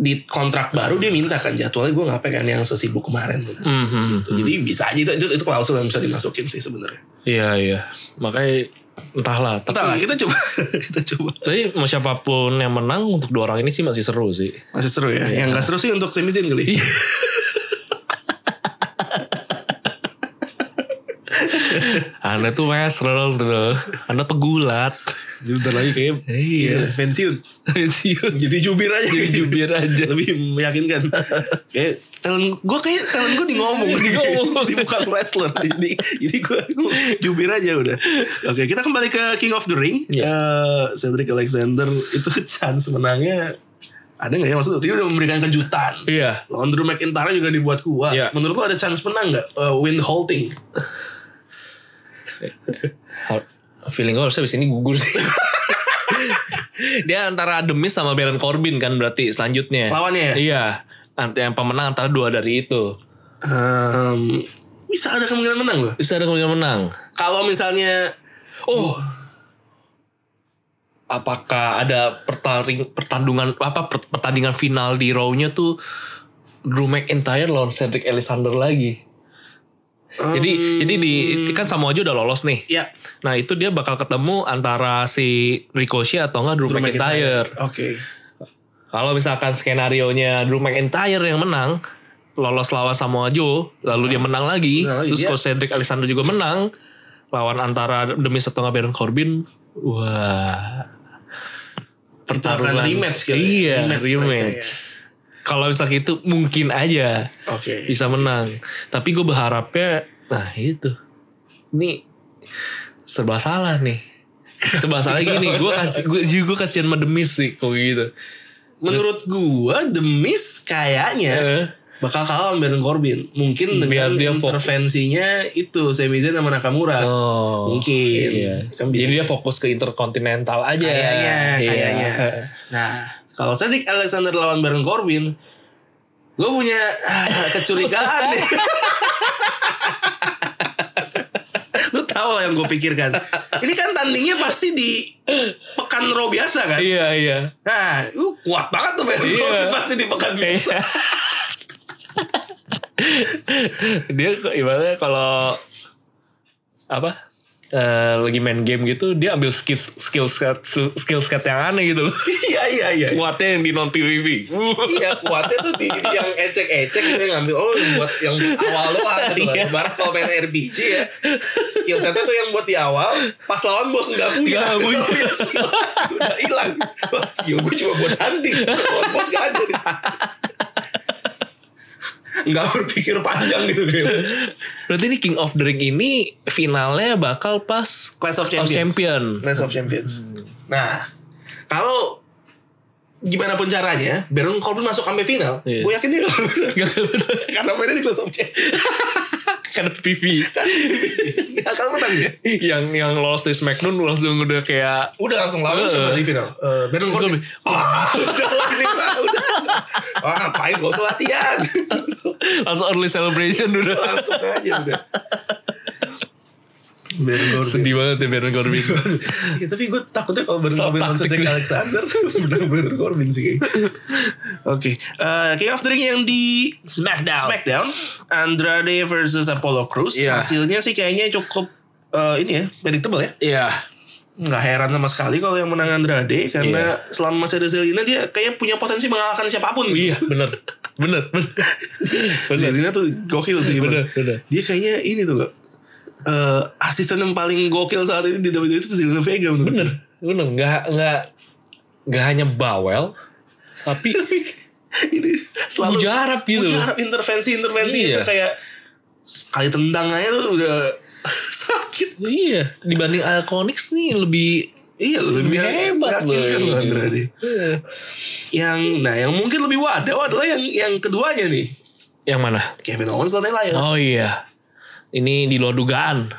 di kontrak baru dia minta kan jadwalnya gue ngapain kan yang sesibuk kemarin gitu. Mhm. Gitu. jadi bisa aja itu, itu- itu klausul yang bisa dimasukin sih sebenarnya iya iya makanya entahlah tapi entahlah kita coba kita coba Tapi mau siapapun yang menang untuk dua orang ini sih masih seru Iya. sih. Masih seru ya. Yang gak seru sih untuk semisin kali. Anda tuh wrestler tuh. Anda pegulat. Jadi Bentar lagi kayaknya Iya. iya, pensiun. Jadi jubir aja. Jadi jubir aja. Lebih meyakinkan. kayak talent gue kayak talent gue di ngomong. Di ngomong. Di bukan wrestler. Jadi jadi gue jubir aja udah. Oke, kita kembali ke King of the Ring. Eh Iya. Cedric Alexander itu chance menangnya ada nggak ya maksudnya dia udah memberikan kejutan. Iya. Lawan Drew McIntyre juga dibuat kuat. Iya. Menurut lo ada chance menang nggak? Eh, win holding. Feeling gue harusnya abis ini gugur sih. Dia antara Demis sama Baron Corbin kan berarti selanjutnya. Lawannya ya? Iya. Ant- Yang pemenang antara dua dari itu. Em, bisa ada kemungkinan menang loh. Bisa ada kemungkinan menang. Kalau misalnya Oh. Apakah ada pertaring, pertandungan apa per- pertandingan final di Raw-nya tuh Drew McIntyre lawan Cedric Alexander lagi. jadi jadi di kan Samoa Joe udah lolos nih. ya Nah, itu dia bakal ketemu antara si Ricochet atau enggak Drew, Drew McIntyre. Oke. Kalau misalkan skenario-nya Drew McIntyre yang menang, lolos lawan Samoa Joe, lalu dia menang lagi, Nah, iya. terus kalau Cedric Alexander juga menang, lawan antara demi setengah Baron Corbin, wah. Itu akan rematch kali. ya? Iya, Rematch rematch. mereka, Kalau misalkan itu mungkin aja Oke. bisa menang. Tapi gue berharapnya, nah itu. Ini serba salah nih. Serba salah gini, gue kasih gue juga kasihan sama Demis sih kalau gitu. Menurut gua The Miz kayaknya Eh. bakal kalah sama Baron Corbin. Mungkin Biar dengan dia fokus. intervensinya itu Sami Zayn sama Nakamura. Oh, Mungkin. Iya. Kan bisa. Jadi dia fokus ke interkontinental aja. Kayaknya, Iya. kayaknya. Nah, kalau Cedric Alexander lawan Baron Corbin, gue punya ah, kecurigaan nih. Lu tahu loh yang gue pikirkan. Ini kan tandingnya pasti di pekan row biasa kan? Iya iya. Nah, lu kuat banget tuh Band Iya. Roll, pasti di pekan biasa. dia ke- ibaratnya kalau apa eh, lagi main game gitu dia ambil skill skill set skill set yang aneh gitu loh. Iya iya iya. Kuatnya yang di non PVP. Iya kuatnya tuh di yang ecek-ecek gitu yang ngambil oh yang buat yang awal doang gitu loh. Iya. Ibarat kalau main RBG ya skill setnya tuh yang buat di awal pas lawan bos nggak punya Nggak punya. skill udah hilang Wah, skill gue cuma buat hunting lawan bos nggak ada nih. nggak berpikir panjang gitu kayak Berarti ini King of the Ring ini finalnya bakal pas Clash of Champions. Champion. Clash of Champions nah kalau gimana pun caranya Baron Corbin masuk sampai final Iya. gue yakin dia nggak menang. Nggak bener. karena mainnya di Clash of Champions Karena PV Nggak akan Iya, menang dia yang yang lolos di Smackdown langsung udah kayak udah langsung lawan Eh. siapa di final Eh, Baron Corbin ah udah lah ini mah udah wah ngapain gak usah latihan langsung early celebration udah langsung aja udah Baron Corbin sedih banget ya Baron Corbin. ya, tapi gue takutnya kalau Baron So Corbin langsung taktik. dari Alexander benar Baron Corbin sih kayaknya oke eh, King of the Ring yang di Smackdown. Smackdown Andrade versus Apollo Cruz Iya. hasilnya sih kayaknya cukup eh, ini ya predictable ya Iya. nggak heran sama sekali kalau yang menang Andrade karena selama masih ada Zelina dia kayaknya punya potensi mengalahkan siapapun. Iya bener bener bener bener. Zelina tuh gokil sih. Bener, Bang. bener. Dia kayaknya ini tuh Kak. Eh, asisten yang paling gokil saat ini di WWE itu Zelina Vega menurut bener bener nggak nggak nggak hanya bawel tapi gue. ini selalu mujarab gitu loh. mujarab intervensi-intervensi Iya. itu kayak sekali tendang aja tuh udah sakit. iya dibanding Alconix nih lebih Iya lebih, lebih hebat loh meyakinkan loh ini. Andrade. Iya. Yang nah yang mungkin lebih wadah adalah yang yang keduanya nih. yang mana Kevin Owens lawan Elias. oh iya ini di luar dugaan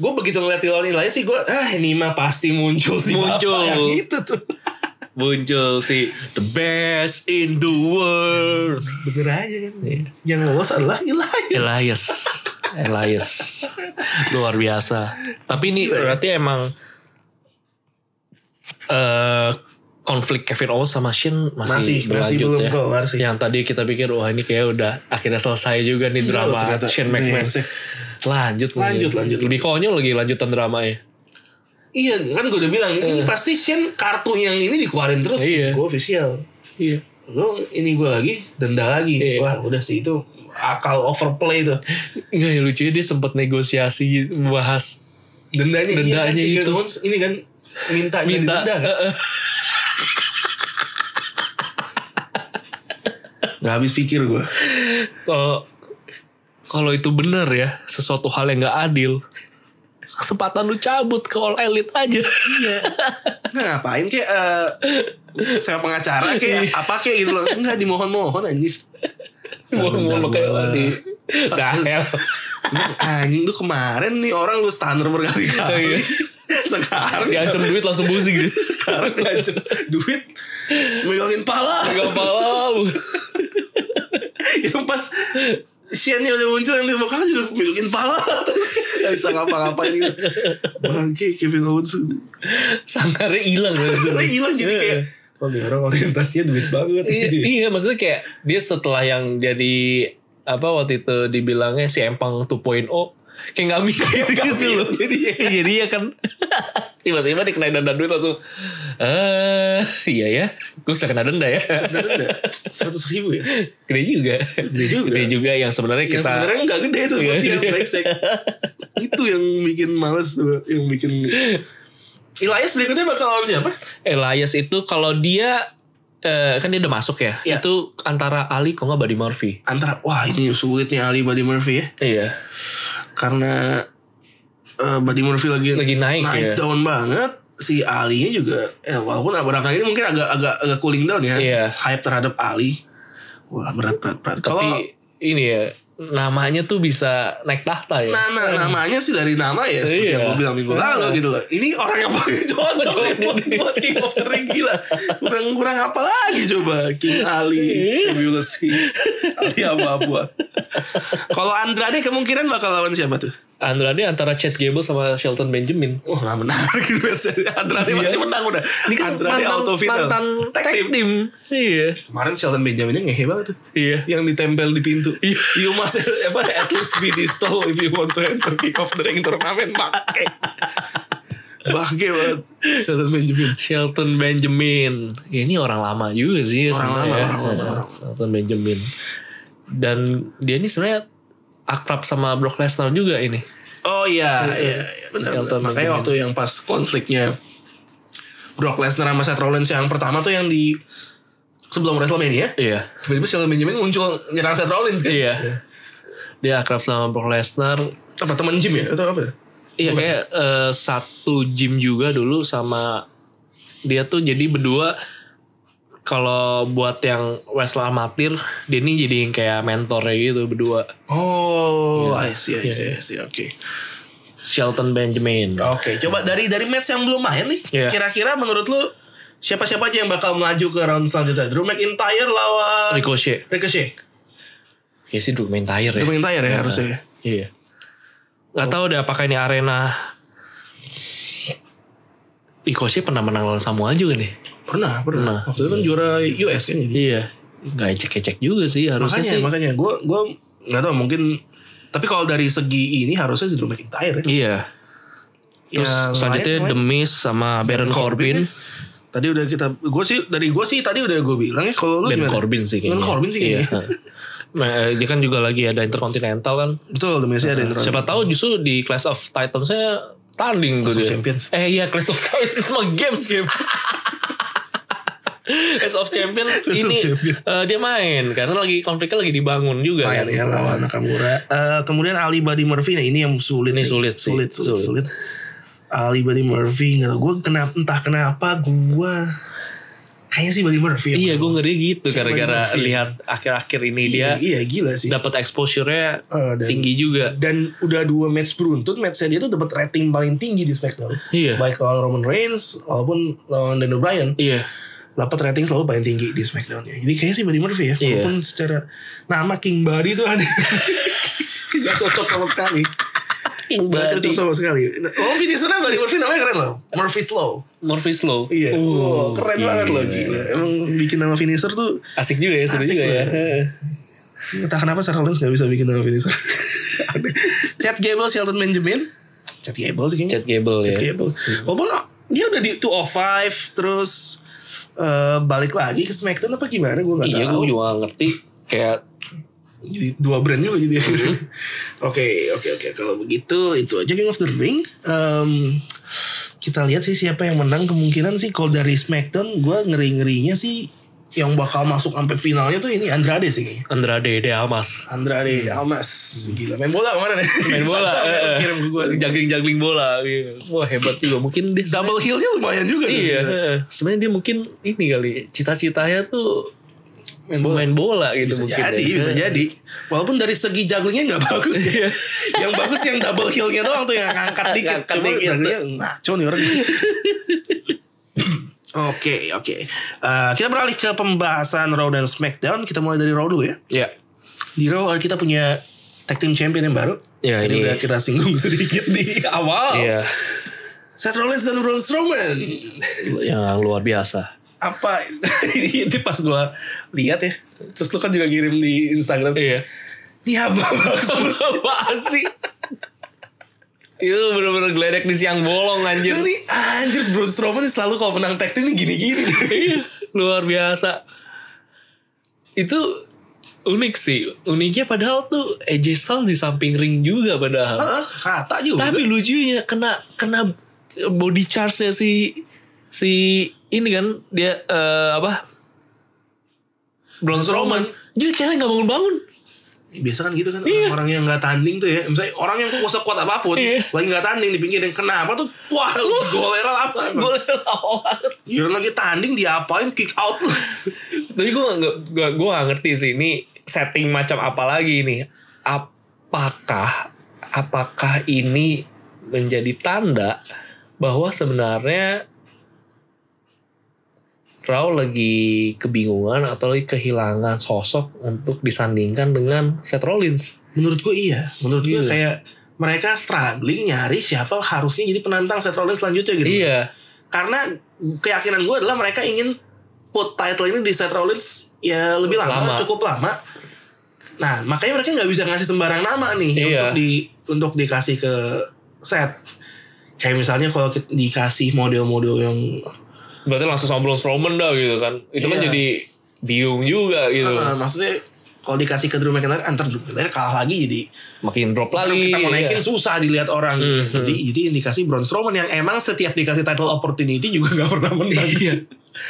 gue begitu ngeliat di lawan Elias sih gue ah ini mah pasti muncul sih Muncul. bapak yang itu tuh muncul si the best in the world bener aja kan Iya. yang lolos adalah Elias Elias Elias luar biasa tapi ini berarti emang eh konflik Kevin Owens sama Shin Masih- masih, masih berlanjut belum ya. kelar sih. Yang tadi kita pikir wah ini kayak udah akhirnya selesai juga nih drama ternyata. Iya, Iya, Shane McMahon. Brengsek. Lanjut nih. Lanjut, lanjut. Lebih konyol lagi lanjutan ya. dramanya. iya kan gue udah bilang ini pasti Shen kartu yang ini dikeluarin terus Iya. gue official Iya. lo ini gue lagi denda lagi Iya. wah udah sih itu akal overplay tuh Enggak ya lucunya dia sempat negosiasi bahas dendanya, iya kan, Dendanya si itu. Kevin Owens ini kan minta jadi minta denda kan? nggak habis pikir gue kalau Eh, kalau itu benar ya sesuatu hal yang nggak adil kesempatan lu cabut ke all elite aja Iya. Nggak ngapain kayak eh saya pengacara Iya. kayak apa kayak gitu loh. Enggak dimohon-mohon anjir. Gua mau lu kayak Nah, ya, Gua- lagi dah hell. Lu- Anjing tuh kemarin nih orang lu standar berkali-kali. Iya. Sekarang diancam duit langsung busing gitu sekarang diancam duit megangin pala. gak mau yang pas Shane udah muncul yang lima kali juga megangin pala. Gak bisa ngapa-ngapain gitu. Bangke Kevin Owens sangkarnya hilang langsung. Karena hilang jadi kayak Oh, nih orang orientasinya duit banget iya, ini. iya maksudnya kayak dia setelah yang jadi apa waktu itu dibilangnya si empang 2.0 kayak nggak mikir gitu loh Jadi ya. jadi ya kan tiba-tiba dikenain denda duit langsung eh iya ya gue bisa kena denda ya seratus ribu ya gede juga Gede juga. gede juga yang sebenarnya yang kita sebenarnya nggak gede tuh buat dia Iya. brengsek itu yang bikin males tuh yang bikin Elias berikutnya bakal lawan siapa Elias itu kalau dia eh, kan dia udah masuk ya Iya. itu antara Ali kok nggak Buddy Murphy antara wah ini sulit nih Ali Buddy Murphy ya iya karena eh, Buddy Murphy lagi Lagi naik, ya. down banget si Ali nya juga eh, walaupun belakangan ini mungkin agak agak agak cooling down ya Iya. hype terhadap Ali wah berat berat berat tapi kalau ini ya namanya tuh bisa naik tahta ya Nah, nah, namanya sih dari nama ya seperti yang Iya. gue bilang minggu Iya. lalu gitu loh. Ini orang yang paling cocok Cocok. buat, buat King of the Ring gila. Kurang kurang apa lagi coba King Ali, Iya. Tribulus Ali apa apa. Kalau Andrade kemungkinan bakal lawan siapa tuh? Andrade antara Chad Gable sama Shelton Benjamin. Wah gak menarik gitu biasanya. Andrade pasti menang udah. Iya. Ini kan Andrade mantan, auto final. mantan Tag tag team. team. Iya. Kemarin Sheldon Benjaminnya ngehe banget tuh. Iya. Yang ditempel di pintu. Iya. You must apa, at least be this tall if you want to enter kick off the ring tournament. Bangke. Bangke banget. Sheldon Benjamin. Shelton Benjamin. Ya, ini orang lama juga sih. Orang sebenarnya. lama, orang lama, Ya, orang lama. Shelton Benjamin. Dan dia ini sebenarnya akrab sama Brock Lesnar juga ini. Oh iya, iya, iya benar. Shelton benar. Makanya Benjamin. waktu yang pas konfliknya Brock Lesnar sama Seth Rollins yang pertama tuh yang di sebelum WrestleMania, Iya. tiba-tiba Sheldon Benjamin muncul nyerang Seth Rollins kan? Iya. Dia akrab sama Brock Lesnar. Apa teman gym ya atau apa? Iya kayak eh, satu gym juga dulu sama dia tuh jadi berdua kalau buat yang wrestler amatir dia ini jadi yang kayak mentornya gitu berdua Oh, Iya. I see, I see, I see. Oke. Shelton Benjamin. Oke, coba dari dari match yang belum main nih. Iya. Kira-kira menurut lu siapa-siapa aja yang bakal melaju ke round selanjutnya? Drew McIntyre lawan Ricochet. Ricochet. Ya sih Drew McIntyre ya. Drew McIntyre ya harusnya. Iya. Gak tahu deh apakah ini arena Ricochet pernah menang lawan Samoa juga nih. Pernah, pernah. Pernah. Waktu itu kan juara US kan jadi. Iya. Gak ecek-ecek juga sih harusnya makanya, sih. makanya gue gue nggak tahu mungkin. Tapi kalau dari segi ini harusnya Drew McIntyre ya. Iya. Yang Terus lain selanjutnya kemarin The Miz Ya, sama Baron Corbin. ya. Tadi udah kita, gue sih dari gue sih tadi udah gue bilang ya kalau lu Ben gimana? Corbin sih kayaknya. Ben Corbin sih kayaknya. Iya. Nah, eh, dia kan juga lagi ada Intercontinental kan. Betul, demi ada yang Siapa tahu justru di Clash of Titans saya tanding tuh Clash of dia. Champions. Eh iya Clash of Titans mah games game. Clash of Champion of ini Champion. eh, dia main karena lagi konfliknya lagi dibangun juga. lumayan kan. ya lawan Nakamura. Eh, kemudian Ali Badi Murphy nah ini yang sulit. nih. Ini sulit sih. sulit, sulit, sulit. Sulit. Ali Badi Murphy nggak tau gue kenapa entah kenapa gue kayaknya sih Buddy Murphy. ya. Iya, gue ngeri gitu gara-gara Murphy. lihat akhir-akhir ini iya, dia iya gila sih. dapat exposure-nya Eh, dan- tinggi juga. Dan udah dua match beruntun, matchnya dia tuh dapat rating paling tinggi di SmackDown. Iya. Baik lawan Roman Reigns, walaupun lawan Daniel Bryan, Iya. dapat rating selalu paling tinggi di SmackDown ya. Jadi kayaknya sih Buddy Murphy ya, Iya. walaupun secara nama King Buddy tuh ada nggak cocok sama sekali. Iya, Gak cocok sama sekali. Oh finishernya Buddy Murphy namanya keren loh. Murphy Slow. Murphy Slow. Iya. Uh, Oh, keren banget loh gila. Emang bikin nama finisher tuh Asik juga ya, seru Asik juga ya. banget. entah kenapa Sarah Lawrence gak bisa bikin nama finisher. Aneh. Chad Gable, Shelton Benjamin. Chad Gable sih kayaknya. Chad Gable Chad ya. Gable. Walaupun oh, dia udah di 205 terus eh, balik lagi ke SmackDown apa gimana gue gak Iya, tahu. gue juga gak ngerti. Kayak jadi dua brand juga jadi Mm-hmm. oke oke oke kalau begitu itu aja King of the Ring Em, kita lihat sih siapa yang menang kemungkinan sih kalau dari Smackdown gue ngeri ngerinya sih yang bakal masuk sampai finalnya tuh ini Andrade sih kayaknya. Andrade de Amas. Andrade Almas gila main bola kemana nih Hmm. Main bola. eh, kirim ke gua. Jagling-jagling bola. iya. Wah, hebat juga. Mungkin dia... double heelnya lumayan juga nih. eh. Iya. eh, Sebenarnya dia mungkin ini kali. Cita-citanya tuh main bola main bola gitu bisa mungkin. jadi ya. bisa jadi walaupun dari segi jagungnya nggak bagus ya. Iya. yang bagus yang double heelnya doang tuh yang ngangkat dikit Ngangkat cuma dikit. jagungnya ngaco nih orang Oke oke Eh, kita beralih ke pembahasan Raw dan Smackdown kita mulai dari Raw dulu ya Iya. di Raw eh, kita punya tag team champion yang baru Ya, Tadi ini- udah kita singgung sedikit di awal Iya. Seth Rollins dan Braun Strowman Yang luar biasa. apa ini pas gue lihat ya terus lu kan juga kirim di Instagram Iya. ini apa maksudnya Apaan sih? Itu bener-bener geledek di siang bolong anjir. Ini anjir Braun Strowman ini selalu kalau menang tag team ini gini-gini. Iya, luar biasa. Itu unik sih. Uniknya padahal tuh AJ Styles di samping ring juga padahal. Heeh, Rata juga. Tapi lucunya kena kena body charge-nya si si ini kan dia eh, apa? Braun Strowman. Strowman. Jadi cewek gak bangun-bangun. Biasa kan gitu kan Iya. orang yang nggak tanding tuh ya. Misalnya orang yang kuat apapun, Iya. lagi nggak tanding di pinggir yang kenapa tuh wah golera apa? Gue lawak banget. Giliran lagi tanding diapain kick out. Tapi gue gak, gua gua nggak ngerti sih ini setting macam apa lagi ini. Apakah apakah ini menjadi tanda bahwa sebenarnya Rao lagi kebingungan atau lagi kehilangan sosok untuk disandingkan dengan Seth Rollins. Menurut gue iya. Menurut gue Iya. kayak mereka struggling nyari siapa harusnya jadi penantang Seth Rollins selanjutnya gitu. Iya. Karena keyakinan gue adalah mereka ingin put title ini di Seth Rollins ya lebih lama, Lama. cukup lama. Nah, makanya mereka nggak bisa ngasih sembarang nama nih Iya. untuk di untuk dikasih ke Seth. Kayak misalnya kalau kita- dikasih model-model yang Berarti langsung sombong Strowman dah gitu kan. Itu kan Iya. jadi bingung juga gitu. Eh, maksudnya kalau dikasih ke Drew McIntyre, antar Drew McIntyre kalah lagi jadi Makin drop lagi. kita mau iya. naikin susah dilihat orang. Mhm. Jadi jadi indikasi Braun Strowman yang emang setiap dikasih title opportunity juga gak pernah menang. Iya.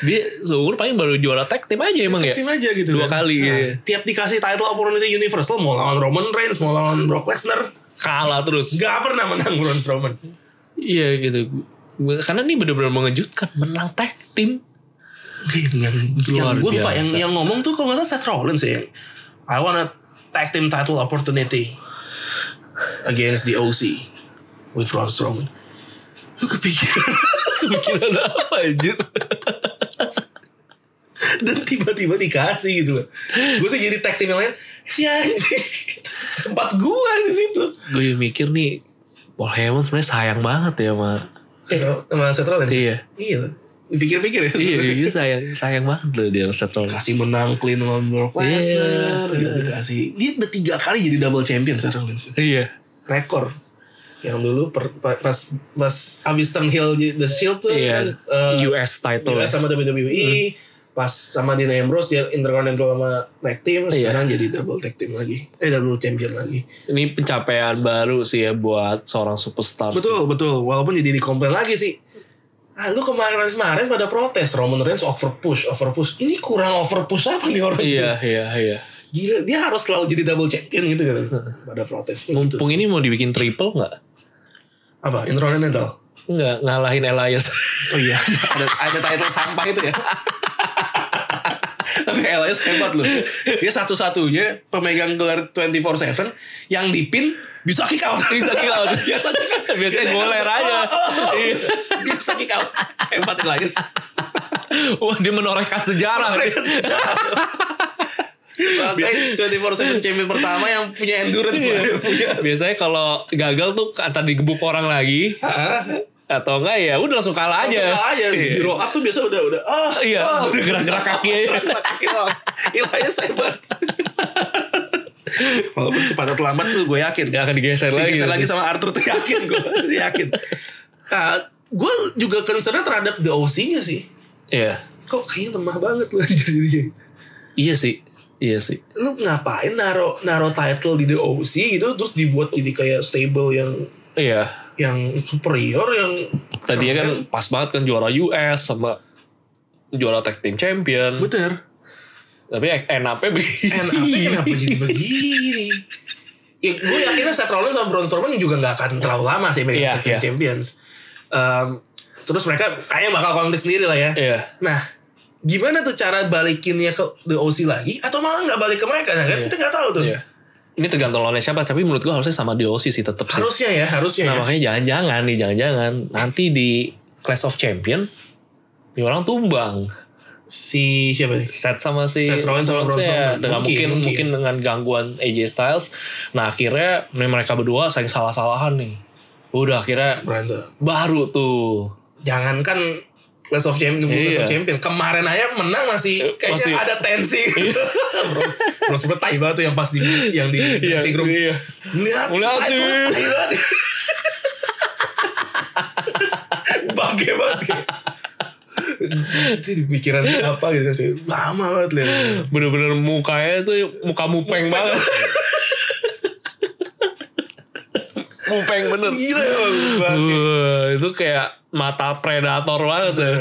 Dia seumur paling baru juara tag team aja emang ya. Tim aja gitu. Dua kali, iya. Tiap dikasih title opportunity Universal mau lawan Roman Reigns, mau lawan Brock Lesnar, Kalah terus. gak pernah menang Braun Strowman. Iya gitu. Karena ini benar-benar mengejutkan menang tag team. yang Luar yang gue lupa biasa. yang yang ngomong tuh kalau nggak salah Seth Rollins ya. I wanna tag team title opportunity against the OC with Braun Strowman. Lu kepikiran Pikiran apa anjir? dan tiba-tiba dikasih gitu loh. Gue sih jadi tag team yang lain si anjing tempat gue di situ. Gue mikir nih Paul Heyman sebenarnya sayang banget ya sama Eh, sama Seth Rollins. Iya. Iya. Dipikir-pikir ya. Iya, iya sayang sayang banget loh dia sama Seth Rollins. Kasih menang clean lawan Brock Iya. Lesnar. gitu, dikasih. Dia udah tiga kali jadi double champion Seth Rollins. Iya. rekor yang dulu per, pa- pas pas abis Turn Hill di- The Shield tuh Iya. kan, eh, US title. US sama WWE Hmm. pas sama Dean Ambrose dia Intercontinental sama tag team Iya. sekarang jadi double tag team lagi eh double champion lagi Ini pencapaian baru sih ya buat seorang superstar. betul betul walaupun jadi dikomplain lagi sih ah lu kemarin kemarin pada protes Roman Reigns over push over push ini kurang over push apa nih orang Iya, iya, iya. gila dia harus selalu jadi double champion gitu kan pada protes Gitu. Pung ini mau dibikin triple nggak? apa Intercontinental Nggak ngalahin Elias. Oh iya, ada, ada title sampah itu ya. Tapi LS hebat loh. Dia satu-satunya pemegang gelar 24/7 yang dipin bisa kick out. Bisa kick out. Biasanya kan Biasanya goler aja. Iya. Dia bisa kick out. Hebat Elias. Wah, dia menorehkan sejarah. kan? Makanya 24/7 Eh, champion pertama yang punya endurance. Iya. Yang punya- Biasanya kalau gagal tuh antar digebuk orang lagi Ah, atau enggak ya udah langsung kalah aja. langsung aja Iya. di roll up tuh biasa udah udah ah Iya, ah, udah gerak-gerak bisa. kaki aja. gerak-gerak kaki doang. ya, Ilahnya hebat walaupun cepat atau lambat tuh gue yakin Dia akan digeser lagi. Digeser lagi sama Arthur tuh yakin gue yakin nah, gue juga concernnya terhadap the OC nya sih Iya. kok kayaknya lemah banget loh jadi Iya sih. Iya sih. lu ngapain naro naro title di the OC gitu terus dibuat jadi kayak stable yang Iya. yang superior yang Tadinya kan pas banget kan juara US sama juara tag team champion. bener Tapi e- enaknya begini. NAP kenapa jadi begini? Ya, gue yakinnya Seth Rollins sama Braun Strowman juga nggak akan terlalu lama sih Iya, mereka iya. yeah, champions. Em, terus mereka kayaknya bakal konflik sendiri lah ya. Iya. Nah, gimana tuh cara balikinnya ke The OC lagi? Atau malah nggak balik ke mereka? Nah, kan kita nggak tahu tuh. Iya. Ini tergantung lawannya siapa, tapi menurut gua harusnya sama DOC sih tetap sih. Harusnya ya, harusnya. Nah ya. makanya jangan-jangan nih, jangan-jangan nanti di Clash of Champion ini orang tumbang. Si siapa nih? Set sama si Seth Rollins sama Braun ya. Strowman. dengan Mungkin, mungkin, mungkin mungkin. dengan gangguan AJ Styles. Nah akhirnya nih, mereka berdua saling salah-salahan nih. Udah akhirnya Berantem. baru tuh. Jangankan Clash of Champions, nunggu Clash of Iya. Eh, Champions. Kemarin aja menang masih kayaknya masih. Iya. ada tensi. Terus terus gue tai banget tuh yang pas di yang di dressing room. iya. Lihat, Lihat, tai banget, cuy. tai banget. Bangke banget. kayak. Itu di pikiran dia apa gitu kayak lama banget lihat. Bener-bener mukanya tuh muka mupeng banget. mupeng bener. Gila emang, bangke. Wah, itu kayak mata predator banget ya.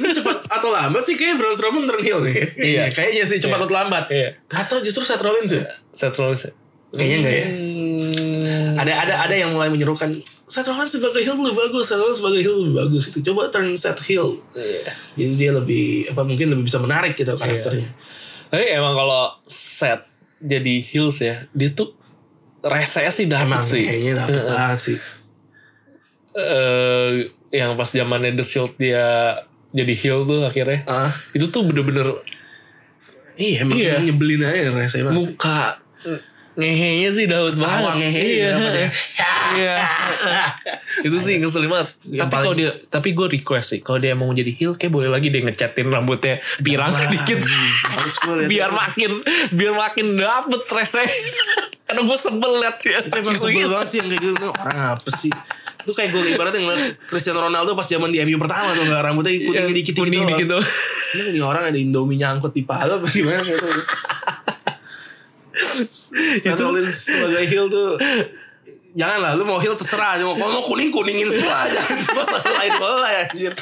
Ini cepat atau lambat sih kayaknya Braun Strowman turn heel nih. Iya, kayaknya sih cepat atau lambat. Iya. Atau justru Seth Rollins ya? Seth Rollins. Kayaknya enggak ya? Hmm, ada ada ada yang mulai menyerukan Seth Rollins sebagai heel lebih bagus Seth Rollins sebagai heel lebih bagus itu coba turn Seth heel iya. jadi dia lebih apa mungkin lebih bisa menarik gitu karakternya Tapi emang kalau Seth jadi heels ya, dia tuh rese sih dapet emang eh. sih. kayaknya dapet banget sih Eh, yang pas zamannya The Shield dia jadi heel tuh akhirnya. ah Itu tuh bener-bener iya emang Iya. emang nyebelin aja rasanya banget sih. muka ngehenya sih Daud banget. Awang ngehe iya. dapat ya. Iya. itu sih ngeselin banget. Yang tapi kalau paling- dia tapi gue request sih kalau dia mau jadi heel kayak boleh lagi dia ngecatin rambutnya pirang Nah, dikit. iya. Harus gue lihat. biar makin biar makin dapet rese. Karena gue sebel liat dia. Itu emang sebel banget sih yang kayak gitu. Nah, orang apa sih? Itu kayak gue ibaratnya ngeliat Cristiano Ronaldo pas zaman di MU pertama tuh nggak rambutnya kuningnya dikit dikit Iya, Kuning doang. dikit doang. Ini ini orang ada Indomie nyangkut di paha apa gimana gitu. Seth Rollins sebagai heel tuh Jangan lah, lu mau heel terserah aja. Mau kalau mau kuning kuningin semua aja. Cuma lain bola ya anjir.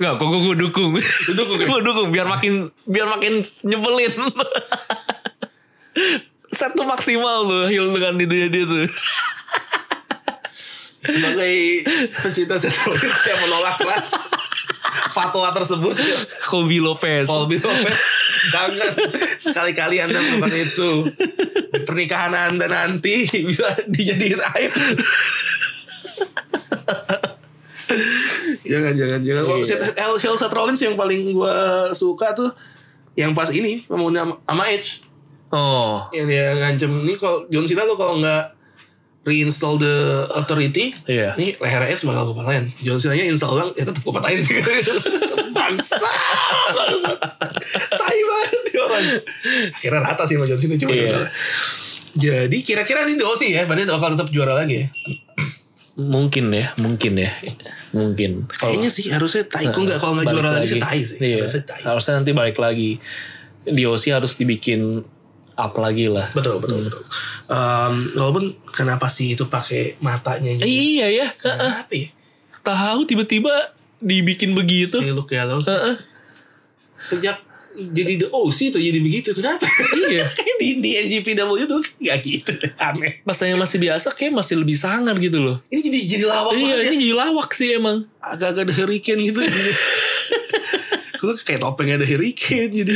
Enggak, kok gue dukung. Dukung. ya? gue dukung biar makin biar makin nyebelin. Satu maksimal tuh heel dengan dia dia tuh. Sebagai pecinta Seth Rollins yang menolak keras fatwa tersebut. Kobe Lopez. Paul B. Lopez, jangan sekali-kali anda melakukan itu. Pernikahan anda nanti bisa dijadiin aib. jangan jangan jangan kalau Iya. Seth- Hell Hill Seth Rollins yang paling gue suka tuh yang pas ini ngomongnya sama- sama Edge Oh. yang dia ngancem nih kalau John Cena lo kalau nggak reinstall the authority Iya. ini leher Edge bakal gue patahin John Cena nya install ulang ya tetap gue patahin sih bangsa bangsa. tai banget dia orang akhirnya rata sih sama John Cena cuma Iya. yaudah. jadi kira-kira ini DOC ya berarti bakal tetap juara lagi ya Mungkin ya, mungkin ya. Mungkin. kayaknya sih harusnya tai gue nggak kalau nggak Oh. Balik juara lagi sih tai sih Iya. harusnya tai Harusnya nanti balik lagi. DOC harus dibikin up lagi lah. betul betul betul Em, walaupun kenapa sih itu pakai matanya Eh, gitu iya ya. Heeh. kenapa ya Tahu tiba-tiba dibikin begitu. si Luke Gallows Heeh. sejak jadi the OC tuh jadi begitu kenapa Iya. kayak di, di NGPW tuh nggak gitu aneh Pas yang masih biasa kayak masih lebih sangar gitu loh. ini jadi jadi lawak banget Iya, ya ini jadi lawak sih emang. agak-agak the hurricane gitu gue kayak topeng ada hurricane jadi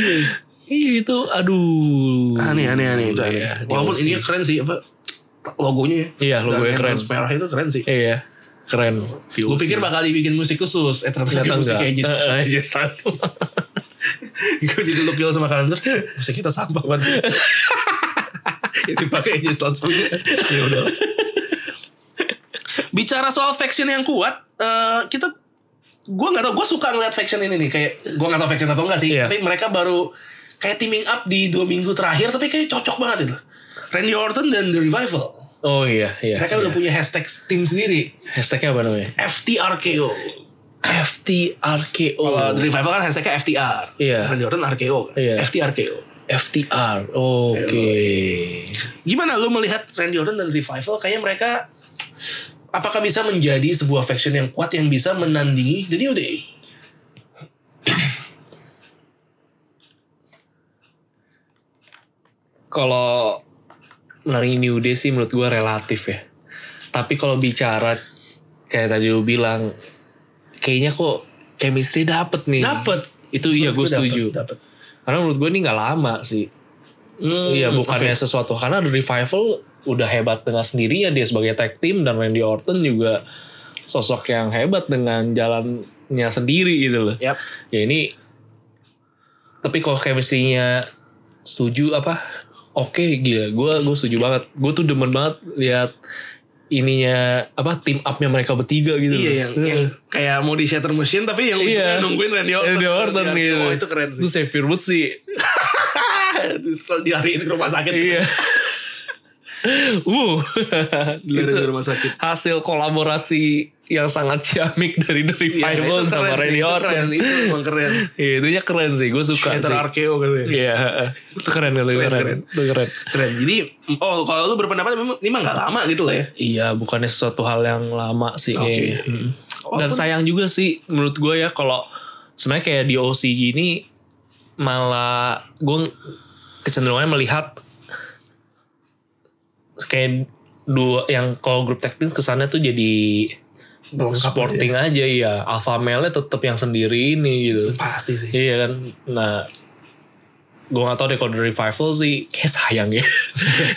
Iya itu, aduh. aneh aneh aneh itu aneh Iya, walaupun DOC. ini keren sih apa logonya ya Iya, logonya Dan keren. entrance merah itu keren sih Iya, keren. gue pikir bakal dibikin musik khusus eh ternyata Ternyata bikin musik enggak. kayak gitu. Jess Heeh, Jess Sutton. gue jadi look Gil sama Kalender musik kita sampah banget ya dipakai aja langsung ya udah bicara soal faction yang kuat eh, kita gue nggak tau gue suka ngeliat faction ini nih kayak gue nggak tau faction atau enggak sih Iya. tapi mereka baru kayak teaming up di dua minggu terakhir tapi kayak cocok banget itu Randy Orton dan The Revival Oh iya, iya. mereka udah iya. punya hashtag tim sendiri Hashtagnya apa namanya? FTRKO Oh. FTRKO. kalau The Revival kan hashtagnya FTR Iya. Randy Orton RKO Iya. FTRKO FTR. Oke. Gimana lu melihat Randy Orton dan Revival kayaknya mereka apakah bisa menjadi sebuah faction yang kuat yang bisa menandingi The New Iya. Day? Kalau menandingi New Day sih menurut gue relatif ya. Tapi kalau bicara kayak tadi lu bilang, kayaknya kok chemistry dapet nih. Dapet. Itu iya gue setuju. Dapat. Karena menurut gue ini nggak lama sih. Iya Hmm, bukannya sesuatu karena The Revival udah hebat dengan sendirinya dia sebagai tag team dan Randy Orton juga sosok yang hebat dengan jalannya sendiri gitu loh. Yap. Ya ini tapi kalau chemistry-nya setuju apa? Oke gila, gue gue setuju banget. Gue tuh demen banget lihat ininya apa team up-nya mereka bertiga gitu. Iya loh. yang, yang kayak mau di shatter machine tapi yang ujungnya Iya. nungguin Randy Orton. Randy Orton Di- gitu. Oh, itu keren sih. Itu Xavier Woods sih Kalau dilariin ke rumah sakit. Iya. uh. Dilariin ke Itu rumah sakit. hasil kolaborasi yang sangat ciamik dari The Iya, itu Revival sama keren sih, Randy itu Orton. keren, itu emang keren. Iya, itu keren sih, gue suka Shatter sih. RKO gitu ya. Iya, itu keren kali, Keren, keren, keren. Itu keren. Keren. Jadi, oh kalau lu berpendapat memang ini mah gak lama gitu lah ya. Iya, bukannya sesuatu hal yang lama sih Oke. kayaknya. Mm. Dan Walaupun- sayang juga sih menurut gue ya kalau sebenarnya kayak di OC gini malah gue kecenderungannya melihat kayak dua yang kalau grup tag team kesannya tuh jadi Lengkap gitu ya? sporting aja ya alpha male tetap yang sendiri ini gitu Pasti sih. iya kan nah gue gak tau deh kalau The revival sih kayak sayang ya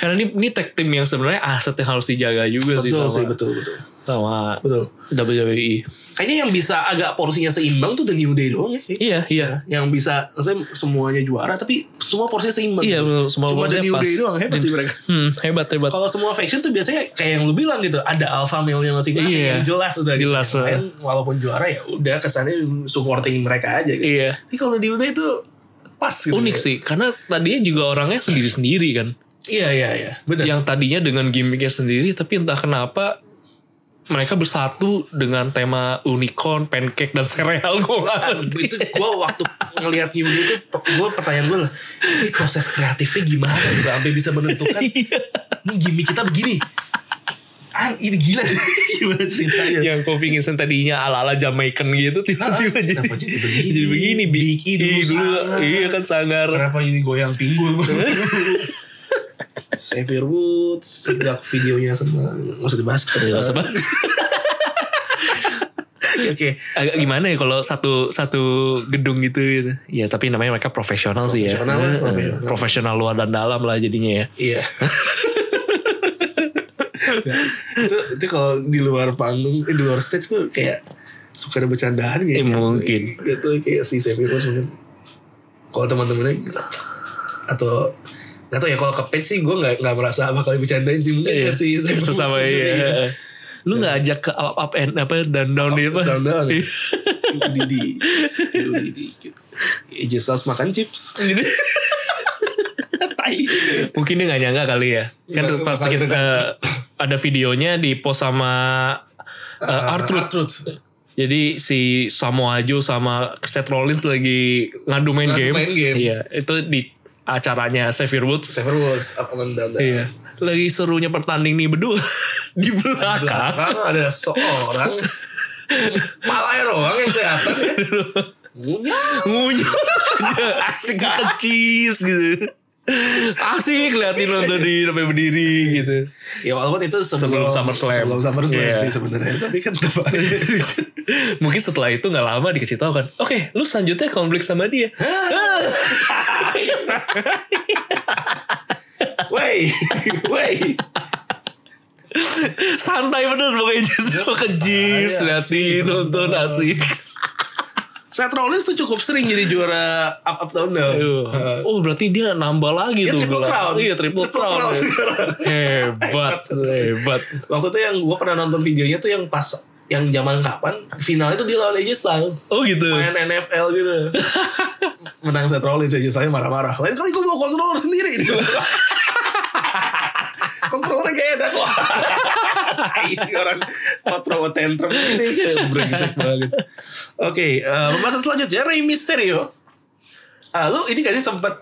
karena ini ini tag team yang sebenarnya aset yang harus dijaga juga Iya sih Betul sama sih, betul, betul. sama E. Betul. WWE Kayaknya yang bisa agak porsinya seimbang tuh The New Day doang ya. kayaknya. iya iya Yang bisa, maksudnya semuanya juara tapi semua porsinya seimbang. Iya, bener, semua Cuma porsinya The New pas. Day doang hebat sih mereka. Hmm, hebat hebat. Kalau semua faction tuh biasanya kayak yang lu bilang gitu, ada alpha male-nya masing-masing Iya. yang jelas udah gitu. Jelas, eh. Yang lain walaupun juara ya udah kesannya supporting mereka aja gitu. Iya. Tapi kalau di Uday itu pas gitu. Unik sih karena tadinya juga orangnya sendiri-sendiri kan. Iya iya iya. Benar. Yang tadinya dengan gimmicknya sendiri tapi entah kenapa mereka bersatu dengan tema unicorn, pancake dan sereal gue nggak ngerti. Nah, itu gue waktu ngelihat New Day itu gue pertanyaan gue lah ini proses kreatifnya gimana gitu sampai bisa menentukan ini gimmick kita begini An, ini gila gimana ceritanya yang Kofi Kingston tadinya ala-ala Jamaican gitu tiba-tiba jadi, Ah, kenapa jadi begini? jadi begini Big E dulu sangar. iya kan sangar Kenapa ini goyang pinggul? Xavier Woods sejak videonya sama nggak usah dibahas. Nggak usah bahas. Oke, oke. agak gimana ya kalau satu satu gedung gitu, gitu. ya tapi namanya mereka profesional, sih ya Profesional lah, Eh, eh, profesional. profesional luar dan dalam lah jadinya ya Iya. Nah, itu itu kalau di luar panggung, eh, di luar stage tuh kayak suka ada bercandaan Eh, ya. mungkin. Itu kayak si Xavier Woods mungkin. Kalau teman-temannya atau Gak tau ya kalau ke Page sih gue gak, nggak merasa bakal bercandain sih Mungkin Iya. ke si Xavier Woods sesama sendiri gitu. ya lu nggak ajak ke up up and apa dan Up down di and apa down, down. Iya. UDD UDD gitu AJ Styles makan chips Jadi- mungkin dia nggak nyangka kali ya kan Nggak, pas bakal kita ada videonya di post sama eh, Artruth. Jadi si Samoa Joe sama Seth Rollins lagi ngadu main Ngadu game. main game. Iya, itu di acaranya Xavier Woods. Sever was up and down, down. Iya. Lagi serunya pertanding nih berdua di belakang. Karena kan ada seorang Palanya doang yang kelihatan ya Ngunyah. Ngunyah. Asik kecil gitu. Asik liatin nonton di sampai berdiri gitu. Ya walaupun itu sebelum, Sebelum SummerSlam. Sebelum SummerSlam Iya. sih sebenarnya Tapi kan tetap aja. Mungkin setelah itu nggak lama dikasih tahu kan. Oke, lu selanjutnya konflik sama dia. Wey Wey Santai bener pokoknya sama ke Jeeves, Santai, asik, liatin nonton asik. Seth Rollins tuh cukup sering jadi juara Up up down down Aduh. Eh, Oh berarti dia nambah lagi Dia tuh. triple gelar. crown iya. Iya triple, crown. hebat, hebat. Waktu itu yang gue pernah nonton videonya tuh yang pas yang zaman kapan finalnya tuh dia lawan AJ Styles Oh gitu. main NFL gitu menang Seth Rollins AJ Styles marah-marah lain kali gue bawa controller sendiri dia bilang. controllernya gak ada kok ini orang mau throw a tantrum ini kayak brengsek banget oke eh, pembahasan selanjutnya Rey Mysterio ah, lu ini gak sih sempat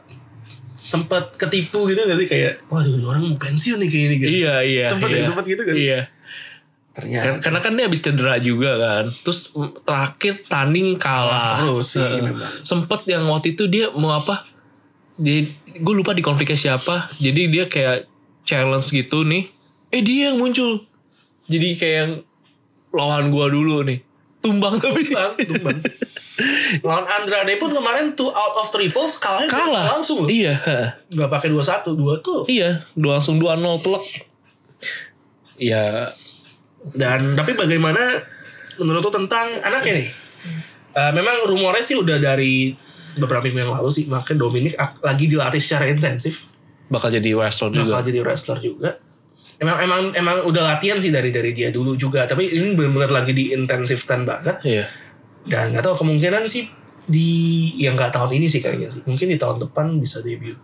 sempat ketipu gitu gak sih kayak waduh ini orang mau pensiun nih kayak ini gitu Iya iya. Sempet ya, iya. sempet gitu kan? Iya. ternyata Kar- Karena kan dia habis cedera juga kan. Terus mm, terakhir tanding kalah. terus sih Iya, Heeh. memang Nah, Sempet yang waktu itu dia mau apa? Jadi gue lupa di konfliknya siapa. Jadi dia kayak challenge gitu nih. Eh dia yang muncul. Jadi kayak yang lawan gua dulu nih. Tumbang tapi Tumbang, tumbang. Lawan Andrade pun kemarin two out of three falls kalahnya kalah. langsung loh. Iya. heeh. Nggak pakai 2-1, 2 tuh. Iya, dua langsung 2-0 telak. Ya, Dan tapi bagaimana menurut tuh tentang anaknya nih? Eh, memang rumornya sih udah dari beberapa minggu yang lalu sih makanya Dominic ak- lagi dilatih secara intensif bakal jadi wrestler bakal juga. jadi wrestler juga emang emang emang udah latihan sih dari dari dia dulu juga tapi ini benar-benar lagi diintensifkan banget Iya. dan nggak tahu kemungkinan sih di yang nggak tahun ini sih kayaknya sih mungkin di tahun depan bisa debut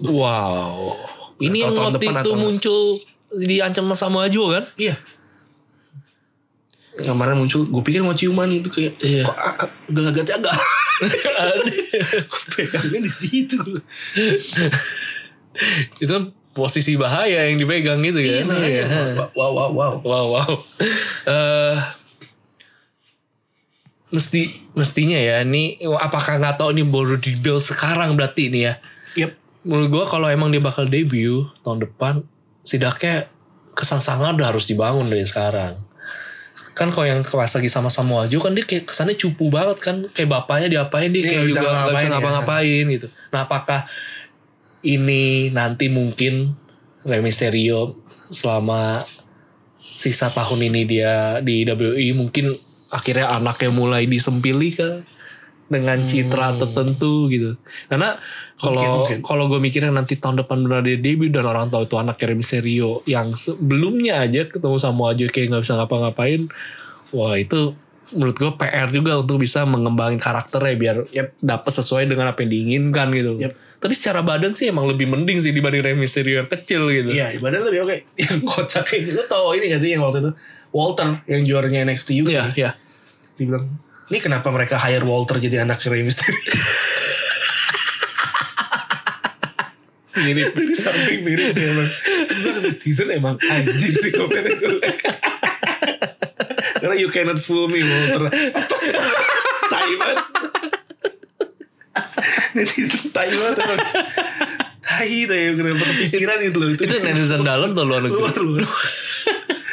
Wow. Atau Ini yang tahun waktu depan itu atau- muncul diancam sama Ajo kan? Iya. Kemarin muncul, gue pikir mau ciuman itu kayak Iya. kok a- ya, a- gelagatnya agak Kok pegangnya di situ. itu kan posisi bahaya yang dipegang gitu kan. Iya, makanya. Wow, wow, wow. Wow, wow. Eh, mesti mestinya ya ini apakah nggak tahu nih baru di build sekarang berarti ini ya. Yep. menurut gua kalau emang dia bakal debut tahun depan setidaknya kesan sangar udah harus dibangun dari sekarang kan kalau yang pas lagi sama Samoa Joe kan dia kayak kesannya cupu banget kan kayak bapaknya diapain Dia dia, kayak nggak bisa juga nggak bisa ngapa-ngapain ya. ngapa-ngapain gitu nah apakah ini nanti mungkin Rey Mysterio selama sisa tahun ini dia di WWE mungkin akhirnya anaknya mulai disempili kan dengan Hmm. citra tertentu gitu. Karena kalau Mungkin, mungkin. kalau gue mikirnya nanti tahun depan benar dia debut dan orang tahu itu anak Remy Serio yang sebelumnya aja ketemu sama aja kayak nggak bisa ngapa-ngapain. Wah itu menurut gue PR juga untuk bisa mengembangin karakternya biar Yep. dapat sesuai dengan apa yang diinginkan gitu. Yep. Tapi secara badan sih emang lebih mending sih dibanding Remy Serio yang kecil gitu. Iya, badan lebih oke. Yang kocak kayak lu tau ini gak sih yang waktu itu Walter yang juaranya NXT UK. Iya, iya. kan? Dibilang, ini kenapa mereka hire Walter jadi anak Rey Mysterio? Mirip. Dari samping mirip sih emang. Sebenarnya netizen emang anjing sih komennya gue. Karena you cannot fool me Walter. Apa sih? Tai banget. Netizen tai banget emang. Tai tai kenapa kepikiran gitu loh. Itu, itu netizen dalam atau luar negeri? luar luar.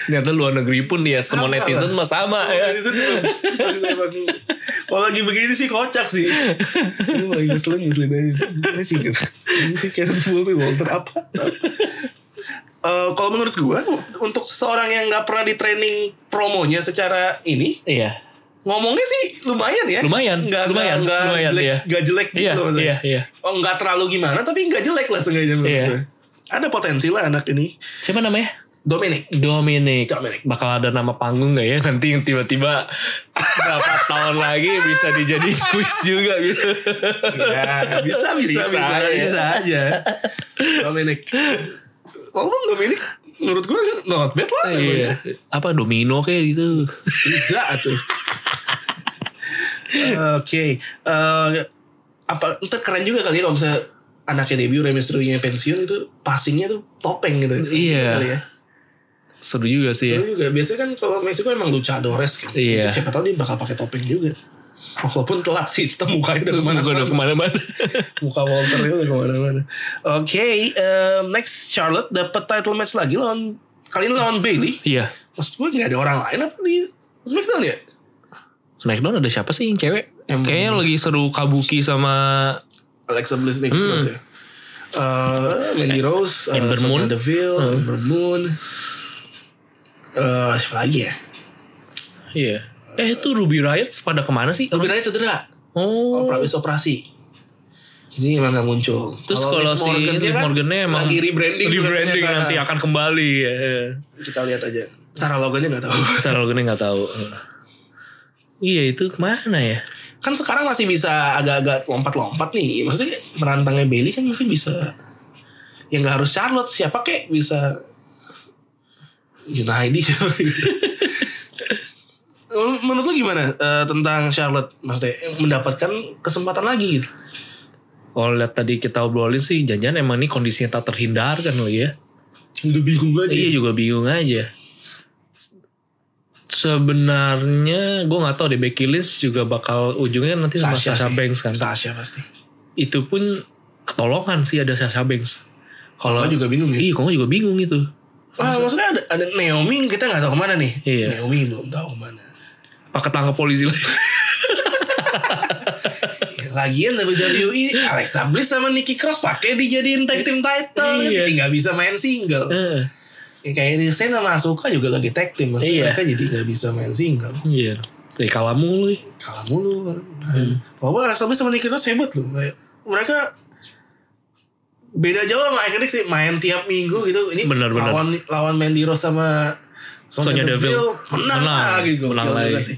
Ternyata luar negeri pun dia semua Sama netizen lah. mah sama ya. Netizen emang- netizen emang- Kalau lagi begini sih kocak sih. Ini lagi ngeselin ngeselin aja. Ini tiga. Ini kayak fool me Walter apa? Eh, kalau menurut gua untuk seseorang yang nggak pernah di training promonya secara ini Iya. ngomongnya sih lumayan ya Lumayan, nggak lumayan, nggak nggak lumayan, jelek iya. nggak jelek gitu Iya, loh maksudnya. iya, iya. oh nggak terlalu gimana tapi nggak jelek lah sengaja menurut Iya. gua. ada potensi lah anak ini Siapa namanya? Dominic Dominic. Dominic. Bakal ada nama panggung gak ya nanti yang tiba-tiba berapa tahun lagi bisa dijadiin quiz juga gitu. ya bisa bisa bisa Bisa bisa, aja. aja Dominic walaupun Dominic menurut gue not bad lah namanya. Iya. Apa domino kayak gitu. bisa tuh oke Eh, apa ntar keren juga kali ya kalau misalnya anaknya debut remistrunya pensiun itu passingnya tuh topeng gitu Iya. Kali ya. Seru juga sih ya. Seru juga biasanya kan kalau Meksiko emang luchadores kan Itu Iya. siapa tahu dia bakal pakai topeng juga walaupun telat sih temukannya udah kemana Bukan udah kemana-mana. muka Walter udah kemana-mana. Oke, em, next Charlotte dapat title match lagi lawan kali ini lawan Bailey. Iya. Maksud gue nggak ada orang lain apa di SmackDown ya? Smackdown ada siapa sih yang cewek? Yang- Kayaknya lagi seru Kabuki sama Alexa Bliss Nikki Hmm. Cross ya. Eh, Mandy Rose, eh, Ember Moon. Sonya Hmm. Deville, Ember Moon. Eh, siapa lagi ya? Iya. Eh itu Ruby Riot pada kemana sih? Lebih dari cedera. Oh, Oh. habis operasi. Jadi emang gak muncul. Terus kalau Liv si Morgan, dia Liv kan Morgannya emang lagi rebranding, rebranding katanya, nanti kan. akan kembali. ya. Kita lihat aja. Sarah Logannya nggak tahu. Sarah Logan nggak tahu. Iya itu kemana ya? kan sekarang masih bisa agak-agak lompat-lompat nih maksudnya menantangnya Bailey kan mungkin bisa ya nggak harus Charlotte siapa kek bisa Junaidi menurut lu gimana eh, tentang Charlotte maksudnya mendapatkan kesempatan lagi gitu Kalau lihat tadi kita obrolin sih, jangan emang ini kondisinya tak terhindarkan loh ya. udah bingung aja Iya juga bingung aja. Sebenarnya gue nggak tahu deh Becky Lynch juga bakal ujungnya nanti sama Sasha, Sasha, sih. Banks kan. Sasha pasti itu pun ketolongan sih ada Sasha Banks. Kalau Gua juga bingung ya Iya, kok juga bingung itu. Ah, maksudnya ada, ada Naomi kita nggak tahu kemana nih Iya. Naomi belum tahu kemana Pak ketangkep polisi lagi. Eh, Lagian WWE E, Alexa Bliss sama Nikki Cross pakai dijadiin tag team title kan Iya. jadi nggak bisa main single. Eh, Ya, kayak ini saya sama Asuka juga lagi tag team maksudnya Iya. mereka jadi nggak bisa main single. Iya. Dari kalah mulu. Kalah mulu. Hmm. Walaupun Alexa Bliss sama Nikki Cross hebat loh. Kayak Mereka beda jauh sama Iconic sih main tiap minggu gitu. Ini Benar, benar. lawan lawan Mandy Rose sama Sonya, Sonya Deville, Deville. menang, Menang. lagi gitu. Menang lagi.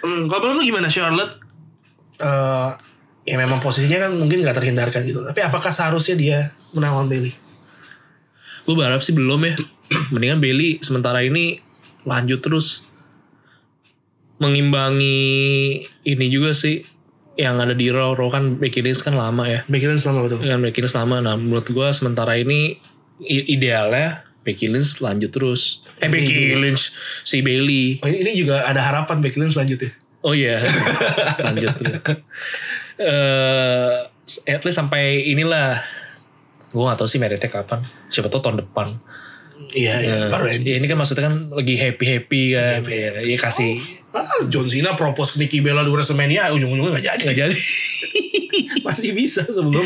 Hmm, kalau menurut lu gimana Charlotte? Eh, ya memang posisinya kan mungkin gak terhindarkan gitu. Tapi apakah seharusnya dia menang lawan Bailey? Gue berharap sih belum ya. Mendingan Bailey sementara ini lanjut terus mengimbangi ini juga sih yang ada di Raw. Raw kan Becky Lynch kan lama ya. Becky Lynch selama betul. Kan Becky Lynch lama. Nah menurut gue sementara ini i- idealnya Becky Lynch lanjut terus. Eh Becky Lynch si Bailey. Oh, ini, ini juga ada harapan Becky Lynch selanjutnya. Oh iya, lanjut. Eh, at least sampai inilah. Gue gak tau sih meritnya kapan. Siapa tau tahun depan. Iya, iya. Eh, Baru ya, ini ini. kan maksudnya kan lagi happy happy kan. Iya, iya kasih Ah, John Cena propose ke Nikki Bella di WrestleMania ujung-ujungnya gak jadi. nggak jadi. Masih bisa sebelum.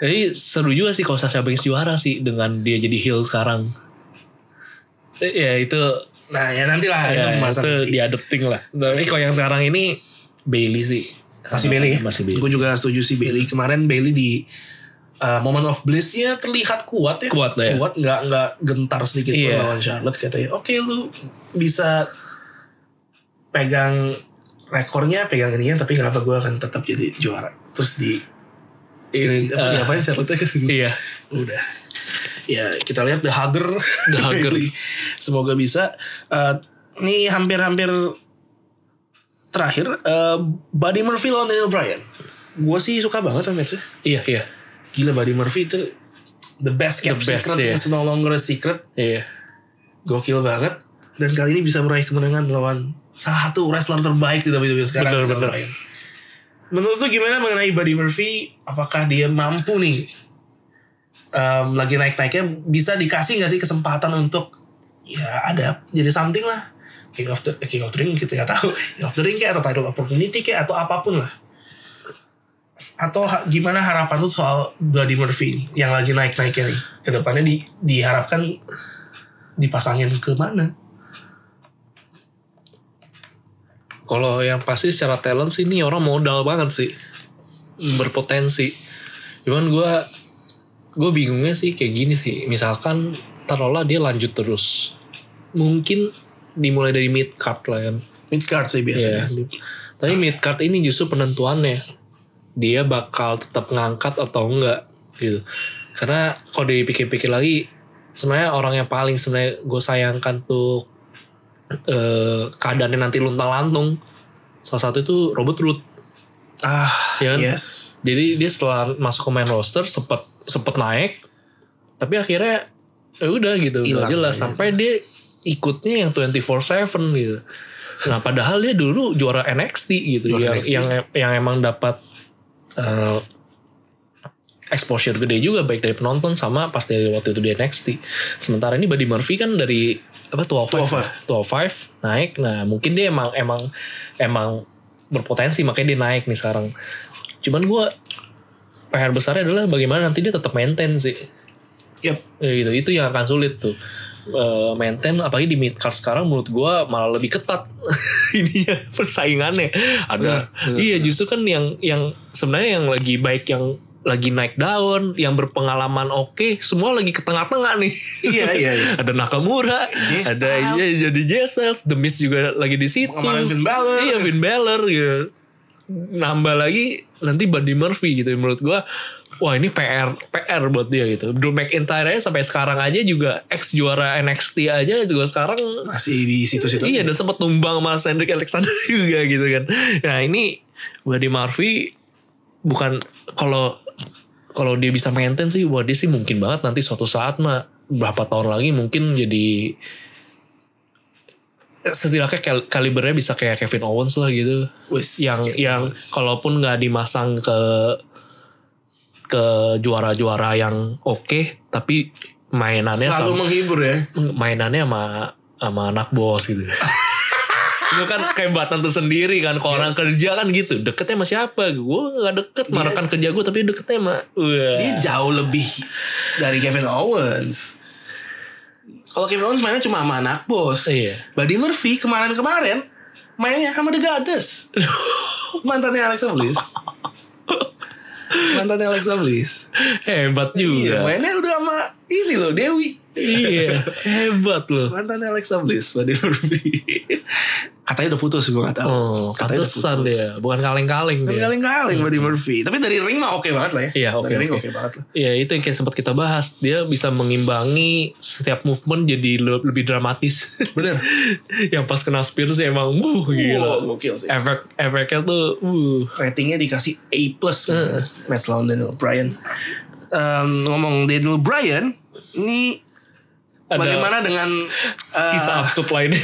Jadi seru juga sih kalau Sasha Banks juara sih dengan dia jadi heel sekarang. Eh, Ya itu, Nah ya nantilah itu ya, pembahasan itu nanti. diadopting lah. Tapi kalau yang sekarang ini Bailey sih. Masih Bailey ya? Masih Bailey. Iya. Gue juga setuju sih Bailey. Kemarin Bailey di uh, moment of bliss-nya terlihat kuat ya. Kuat ya. Kuat, nggak, nggak gentar sedikit pun Iya. lawan Charlotte. Katanya, oke lu bisa pegang rekornya, pegang ininya, tapi nggak apa gue akan tetap jadi juara. Terus di... Ini, apa, Eh. diapain Charlotte Iya. udah ya kita lihat the hugger The Hugger. Bailey. semoga bisa Eh, ini hampir-hampir terakhir eh, Buddy Murphy lawan Daniel Bryan gue sih suka banget sama matchnya Iya, iya. gila Buddy Murphy itu the best kept The best, secret iya. it's no longer a secret Iya. gokil banget dan kali ini bisa meraih kemenangan lawan salah satu wrestler terbaik di WWE sekarang Bener, Daniel bener. Bryan. menurut lu gimana mengenai Buddy Murphy apakah dia mampu nih em, lagi naik-naiknya bisa dikasih nggak sih kesempatan untuk ya ada jadi something lah King of the eh, King of the Ring kita nggak tahu King of the Ring kayak atau title opportunity kayak atau apapun lah atau ha- gimana harapan lu soal Buddy Murphy yang lagi naik-naiknya nih kedepannya di, diharapkan dipasangin ke mana Kalau yang pasti secara talent sih ini orang modal banget sih. Berpotensi. Cuman gua gue bingungnya sih kayak gini sih. Misalkan taruhlah dia lanjut terus. Mungkin dimulai dari mid card lah kan. mid card sih biasanya Iya. Tapi mid card ini justru penentuannya dia bakal tetap ngangkat atau enggak gitu. Karena kalau dipikir-pikir lagi sebenarnya orang yang paling sebenarnya gue sayangkan tuh eh, keadaannya nanti luntang lantung salah satu itu Robert Root. ah Iya kan? yes Jadi dia setelah masuk ke main roster sempet sempet naik tapi akhirnya ya udah gitu nggak Hilang jelas aja. sampai dia ikutnya yang 24/7 gitu. Nah, padahal dia dulu juara NXT gitu Juara yang NXT. yang yang emang dapat eh, exposure gede juga baik dari penonton sama pas dari waktu itu di NXT. Sementara ini Buddy Murphy kan dari apa 205 205 naik. Nah, mungkin dia emang emang emang berpotensi makanya dia naik nih sekarang. Cuman gua PR besarnya adalah bagaimana nanti dia tetap maintain sih. yep Ya gitu, itu yang akan sulit tuh. Eh, maintain apalagi di mid card sekarang menurut gua malah lebih ketat ininya persaingannya ada Benar, benar, iya justru kan yang yang sebenarnya yang lagi baik yang lagi naik daun yang berpengalaman oke semua lagi ke tengah-tengah nih iya iya iya ada Nakamura Jay ada Styles. iya, jadi Jay Styles The Miz juga lagi di situ Kemarin Finn Balor. iya Finn Balor gitu nambah lagi nanti Buddy Murphy gitu menurut gua wah ini PR PR buat dia gitu Drew McIntyre aja sampai sekarang aja juga ex juara NXT aja juga sekarang masih di situ-situ Iya dan sempat tumbang sama Cedric Alexander juga gitu kan. Nah ini Buddy Murphy bukan kalau kalau dia bisa maintain sih wah dia sih mungkin banget nanti suatu saat mah berapa tahun lagi mungkin jadi setidaknya kal- kalibernya bisa kayak Kevin Owens lah gitu. Wes, Yang kayak yang kalaupun nggak dimasang ke ke juara-juara yang oke tapi mainannya selalu sama- menghibur ya mainannya sama sama anak bos gitu. itu kan kehebatan tersendiri kan Iya. kalau orang kerja kan gitu deketnya sama siapa gue gak deket sama rekan kerja gue tapi deketnya sama wah dia jauh lebih dari Kevin Owens kalau Kevin Owens mainnya cuma sama anak bos Iya. Buddy Murphy kemarin-kemarin mainnya sama The Goddess mantannya Alexa Bliss mantannya Alexa Bliss hebat iya juga mainnya udah sama ini loh Dewi iya hebat loh mantannya Alexa Bliss Buddy Murphy katanya udah putus gue gak tahu oh katanya pantesan dia bukan kaleng-kaleng Kan dia kaleng-kaleng Buddy Murphy. Tapi dari ring mah oke banget lah ya. Iya, oke, Dari ring oke. oke banget lah. ya itu yang kayak sempat kita bahas dia bisa mengimbangi setiap movement jadi le- lebih dramatis Bener. yang pas kena spear sih emang wuh Wow, gila gokil sih. efek efeknya tuh uh Ratingnya dikasih A+. plus Hmm. Match lawan Daniel Bryan. Em, ngomong Daniel Bryan, ini Ada- bagaimana dengan eh, kisah absurd lainnya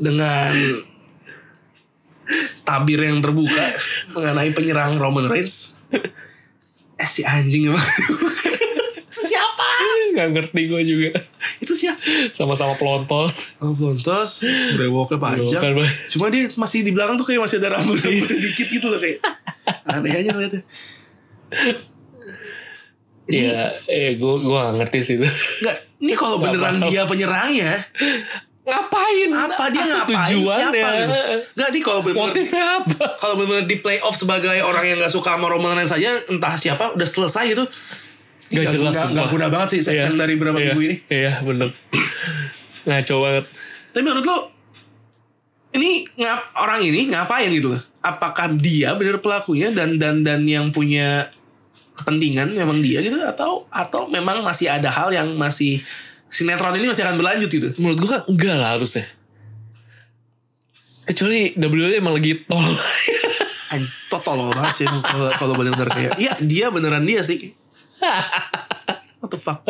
dengan tabir yang terbuka mengenai penyerang Roman Reigns? Eh si anjing emang siapa nggak ngerti gue juga itu ya. siapa? sama-sama pelontos Oh, bontos, brewoknya panjang. Brewokan, Bang. Cuma dia masih di belakang tuh kayak masih ada rambut rambut dikit gitu loh kayak. Aneh aja ngeliatnya. Ini Iya, eh gue gue gak ngerti sih itu. enggak, ini kalau beneran dia penyerangnya, ngapain? apa dia ngapain siapa gitu nggak di kalau benar Motifnya apa? kalau benar di playoff sebagai orang yang nggak suka sama Romanen saja entah siapa udah selesai gitu. itu Gak jelas gak, sumpah. guna banget sih segmen Iya, dari berapa iya, minggu ini Iya bener Ngaco banget tapi menurut lo ini ngap orang ini ngapain gitu loh apakah dia benar pelakunya dan dan dan yang punya kepentingan memang dia gitu atau atau memang masih ada hal yang masih sinetron ini masih akan berlanjut gitu Menurut gue kan enggak lah harusnya Kecuali WWE emang lagi tol Anj- to- tolol banget sih emang kalau kalau benar-benar kayak iya dia beneran dia sih what the fuck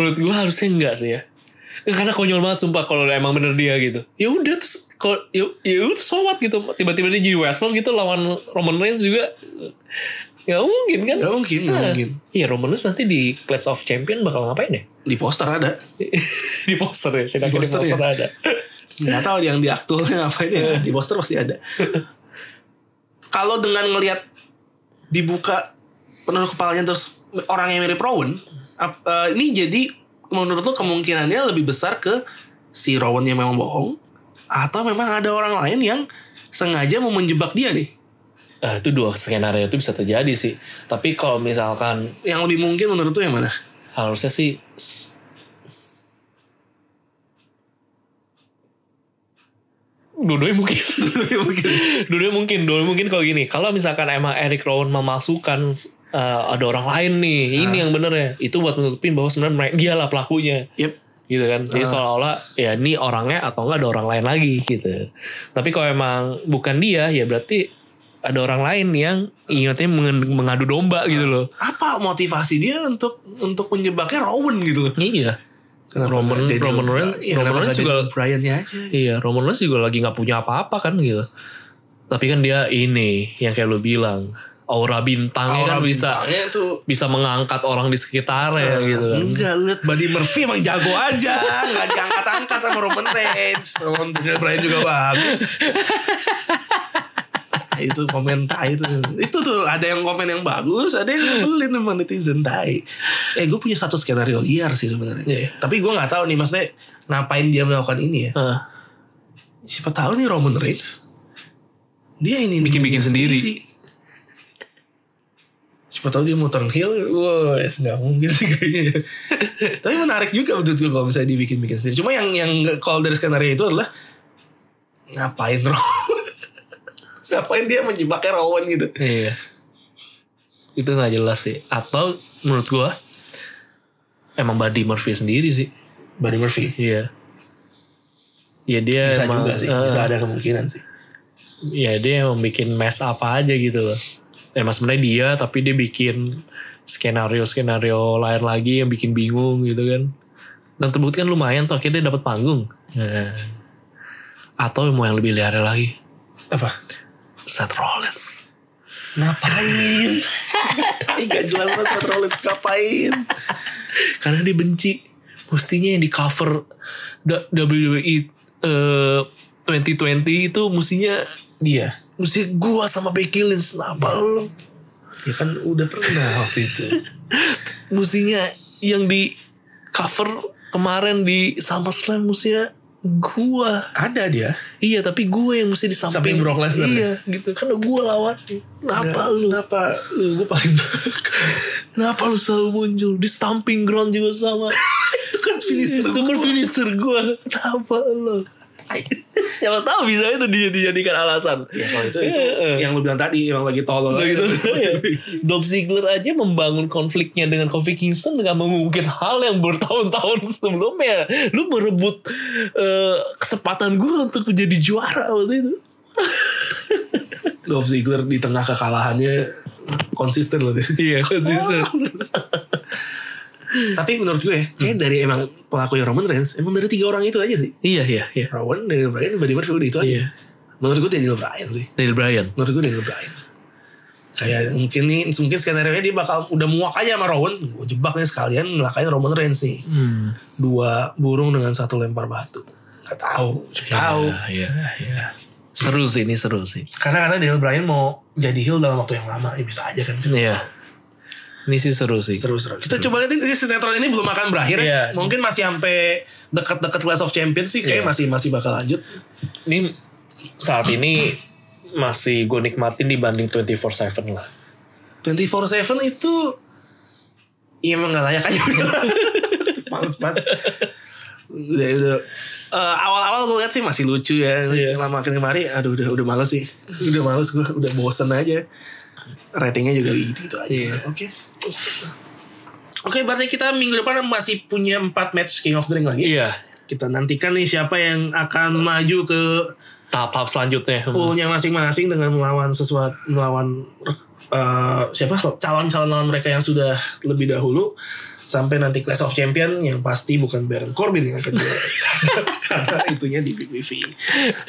Menurut gue harusnya enggak sih ya karena konyol banget sumpah kalau emang bener dia gitu ya udah terus kalau ya ya udah so what gitu tiba-tiba dia jadi wrestler gitu lawan Roman Reigns juga eh, nggak mungkin kan Nggak mungkin, nggak Nah, mungkin. iya Roman Reigns nanti di Clash of Champion bakal ngapain ya di poster ada di poster ya sedangkan di poster poster, ya? ada nggak tahu yang di aktualnya ngapain ya di poster pasti ada kalau dengan ngelihat dibuka penuh kepalanya terus orang yang mirip Rowan ap- eh, ini jadi menurut lo kemungkinannya lebih besar ke si Rowan yang memang bohong atau memang ada orang lain yang sengaja mau menjebak dia nih Eh, itu dua skenario itu bisa terjadi sih. Tapi kalau misalkan yang lebih mungkin menurut lo yang mana harusnya sih s- Dua-duanya mungkin. Dua-duanya mungkin. Dua-duanya mungkin kalau gini. Kalau misalkan emang Eric Rowan memasukkan eh, ada orang lain nih. Ini yang bener ya. Itu buat menutupin bahwa sebenarnya mereka- dialah pelakunya. yep gitu kan jadi seolah-olah ya ini orangnya atau enggak ada orang lain lagi gitu tapi kalau emang bukan dia ya berarti ada orang lain yang ingatnya mengadu domba gitu loh apa motivasi dia untuk untuk menjebaknya Rowan gitu loh iya Roman- nggak Daniel Roman Bra- Reigns- iya, Roman kenapa Reigns nggak juga- Daniel Bryan-nya aja iya Roman Reigns juga lagi nggak punya apa-apa kan gitu tapi kan dia ini yang kayak lo bilang aura bintangnya Aura kan bisa bintangnya itu bisa mengangkat orang di sekitarnya gitu kan Enggak lu liat Buddy Murphy emang jago aja Gak diangkat-angkat sama Roman Reigns Roman Daniel Bryan juga bagus Nah, itu komen tai itu itu tuh ada yang komen yang bagus ada yang nyebelin sama netizen tai eh gue punya satu skenario liar sih sebenarnya Iya. tapi gue nggak tahu nih maksudnya ngapain dia melakukan ini ya Heeh. siapa tahu nih Roman Reigns dia ini Bikin-bikin sendiri. siapa tahu dia mau turn heel wah ya, nggak mungkin sih kayaknya ya. tapi menarik juga menurut gue kalau misalnya dibikin-bikin sendiri cuma yang yang kalau dari skenario itu adalah ngapain Rowan ngapain dia menjebaknya Rowan gitu Iya. Itu nggak jelas sih. Atau menurut gua emang Buddy Murphy sendiri sih. Buddy Murphy Iya. Ya dia bisa emang, juga sih eh, bisa ada kemungkinan sih Ya dia emang bikin mess apa aja gitu loh. Emang sebenarnya dia tapi dia bikin skenario-skenario lain lagi yang bikin bingung gitu kan. Dan terbukti kan lumayan tuh akhirnya dia dapat panggung. Nah. Atau mau yang lebih liar lagi, apa Seth Rollins. ngapain tai gak jelas banget Seth Rollins ngapain karena dia benci mestinya yang di cover da- WWE eh, 2020 itu mestinya dia mesti gua sama Becky Lynch kenapa lu? ya kan udah pernah waktu itu mestinya yang di cover kemarin di SummerSlam mestinya gua ada dia iya tapi gua yang mesti di Samping samping Brock Lesnar ya? iya gitu karena gua lawan Nggak, kenapa lu Kenapa lu gue paling kenapa lu selalu muncul di stamping ground juga sama Itu kan finisher itu kan finisher gue kenapa lo siapa tahu bisa itu dijadi- dijadikan alasan Ya kalau itu Iya, itu Yang lu bilang tadi Emang lagi tolol Nah, aja. gitu. Dolph Ziggler aja membangun konfliknya dengan Kofi Kingston dengan mengungkit hal yang bertahun-tahun sebelumnya. Lu merebut eh, kesempatan gue untuk menjadi juara waktu itu. Dolph Ziggler di tengah kekalahannya Konsisten loh dia Iya, konsisten. Tapi menurut gue Kayaknya dari emang Pelakunya Roman Reigns Emang dari tiga orang itu aja sih iya, iya, iya. Rowan, Daniel Bryan, Buddy Murphy Udah itu aja Iya. Menurut gue Daniel Bryan sih Daniel Bryan. Menurut gue Daniel Bryan Kayak mungkin nih Mungkin skenario nya dia bakal Udah muak aja sama Rowan Gue jebak nih sekalian Ngelakain Roman Reigns nih Hmm. Dua burung dengan satu lempar batu Gak tahu, Gak tahu. Iya, iya. Seru sih ini seru sih. Karena karena Daniel Bryan mau jadi heel dalam waktu yang lama, ya bisa aja kan. Iya. Ini sih seru sih. Seru seru. Kita coba lihat ini ini sinetron ini belum akan berakhir Iya. ya. Mungkin masih sampai dekat-dekat Class of Champions sih kayak Iya. masih masih bakal lanjut. Ini saat ini masih gue nikmatin dibanding 24/7 lah. 24/7 itu Iya emang gak layak aja udah Males banget Udah, udah. Eh, awal-awal gue liat sih masih lucu ya Iya. lama makin kemari aduh udah udah males sih udah males gue udah bosen aja ratingnya juga gitu gitu aja Iya. oke oke berarti kita minggu depan masih punya 4 match King of the Ring lagi Iya. kita nantikan nih siapa yang akan maju ke Tahap-tahap selanjutnya. poolnya masing-masing dengan melawan sesuatu melawan eh, siapa calon-calon lawan mereka yang sudah lebih dahulu sampai nanti Clash of Champion yang pasti bukan Baron Corbin yang akan juara karena, karena itunya di PPV.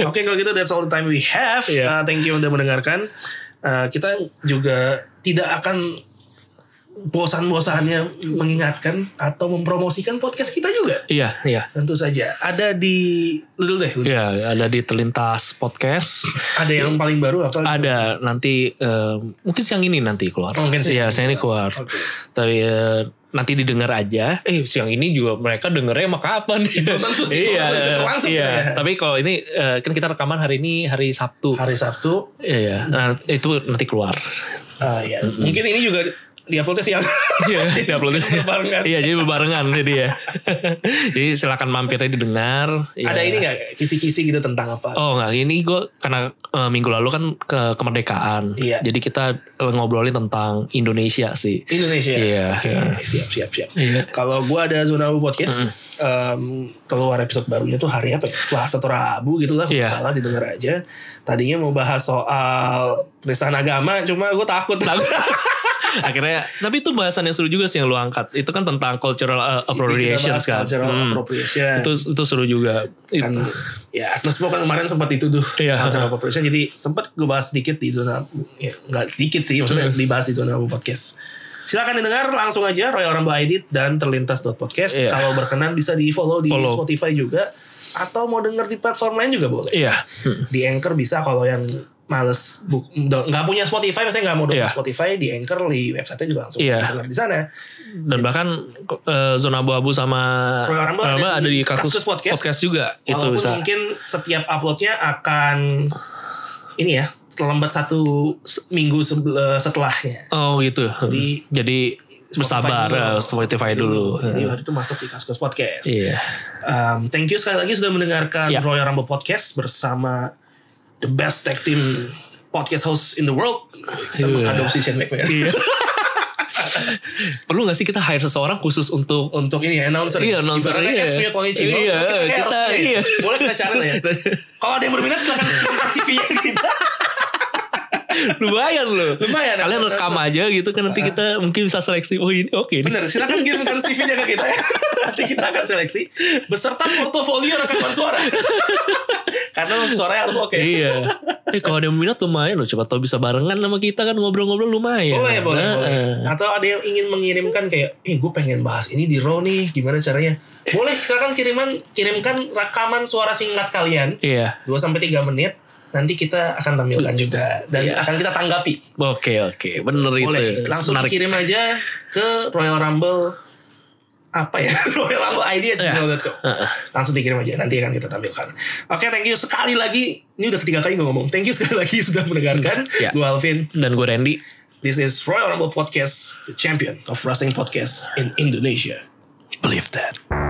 Oke kalau gitu that's all the time we have. Iya. Eh, thank you udah mendengarkan. Eh, kita juga tidak akan bosan-bosannya mengingatkan atau mempromosikan podcast kita juga. Iya, iya. Tentu saja ada di lu dulu deh. lu. Iya, ada di Terlintas Podcast. Ada yang paling baru apa? ada nanti eh, mungkin siang ini nanti keluar. Mungkin siang Iya, ini siang ini keluar. keluar. Oke. Tapi eh, nanti didengar aja. Eh siang ini juga mereka dengernya emang kapan? Belum tentu sih, belum iya, tentu denger langsung iya. kita ya. Tapi kalau ini eh, kan kita rekaman hari ini hari Sabtu. hari Sabtu Iya, nah, itu nanti keluar. Ah ya, mungkin ini juga di uploadnya siang. Iya, di uploadnya siang. Berbarengan. iya, jadi berbarengan jadi ya. jadi silakan mampirnya didengar. Iya. Ada ini nggak kisi-kisi gitu tentang apa? Oh nggak, ini gue karena eh, minggu lalu kan ke kemerdekaan, Iya. jadi kita eh, ngobrolin tentang Indonesia sih. Indonesia. Iya. Oke, siap siap siap. Iya. Kalau gua ada zona U podcast, em, keluar episode barunya tuh hari apa? ya? Setelah satu Rabu gitu lah, nggak Iya. salah didengar aja. Tadinya mau bahas soal penistaan agama, cuma gue takut. akhirnya tapi itu bahasan yang seru juga sih yang lu angkat itu kan tentang cultural Kita uh, appropriation bahas kan cultural Hmm. appropriation. itu itu seru juga kan Itu- ya Atlas Pop kan kemarin sempat itu tuh Iya. cultural appropriation jadi sempat gue bahas sedikit di zona ya, nggak sedikit sih maksudnya Iya. dibahas di zona Abu podcast silakan didengar langsung aja Royal Rumble Edit dan terlintas.podcast Iya. kalau berkenan bisa di follow di Follow. Spotify juga atau mau denger di platform lain juga boleh iya di Anchor bisa kalau yang males bu- do- nggak punya Spotify misalnya nggak mau download Iya. Spotify di Anchor di website-nya juga langsung Iya. bisa denger di sana dan bahkan eh, zona abu-abu sama Royal Rumble Royal Rumble ada di kasus, podcast. juga itu Walaupun bisa mungkin setiap uploadnya akan ini ya terlambat satu se- minggu sebel- eh, setelahnya. oh gitu Jadi Hmm. jadi bersabar eh, Spotify dulu, Jadi waktu itu masuk di Kaskus Podcast. iya Um, thank you sekali lagi sudah mendengarkan Iya. Royal Rumble Podcast bersama the best tag team podcast host in the world. Kita Iya. mengadopsi Shane McMahon Iya. perlu nggak sih kita hire seseorang khusus untuk untuk ini ya, announcer. Iya, announcer, Ibaratnya iya. ex-punya Tony Chino. Iya, kita, kayak kita- harus- iya. Boleh kita cari lah ya. Kalau ada yang berminat silakan kirimkan CV-nya kita. lumayan loh Lumayan. kalian rekam aja gitu kan nanti kita mungkin bisa seleksi oh ini oke ini Bener, silakan kirimkan CV-nya ke kita. ya. Nanti kita akan seleksi beserta portofolio rekaman suara. Karena suaranya harus oke. iya. Eh kalau ada yang minat lumayan loh. Coba tau bisa barengan sama kita kan ngobrol-ngobrol lumayan. Boleh, boleh, Nah, boleh. eh. Atau ada yang ingin mengirimkan kayak, eh gue pengen bahas ini di Raw nih, gimana caranya? Boleh, silakan kiriman, kirimkan rekaman suara singkat kalian, Iya. 2 sampai 3 menit. Nanti kita akan tampilkan juga dan Iya. akan kita tanggapi. Oke, oke. Bener Boleh, itu. ya, langsung Menarik. dikirim aja ke Royal Rumble apa ya Royal Rumble ID at gmail.com. Iya. Heeh. langsung dikirim aja nanti akan kita tampilkan oke thank you sekali lagi ini udah ketiga kali gue ngomong thank you sekali lagi sudah mendengarkan Ya. gue Alvin Dan gue Randy. this is Royal Rumble Podcast the champion of wrestling podcast in Indonesia believe that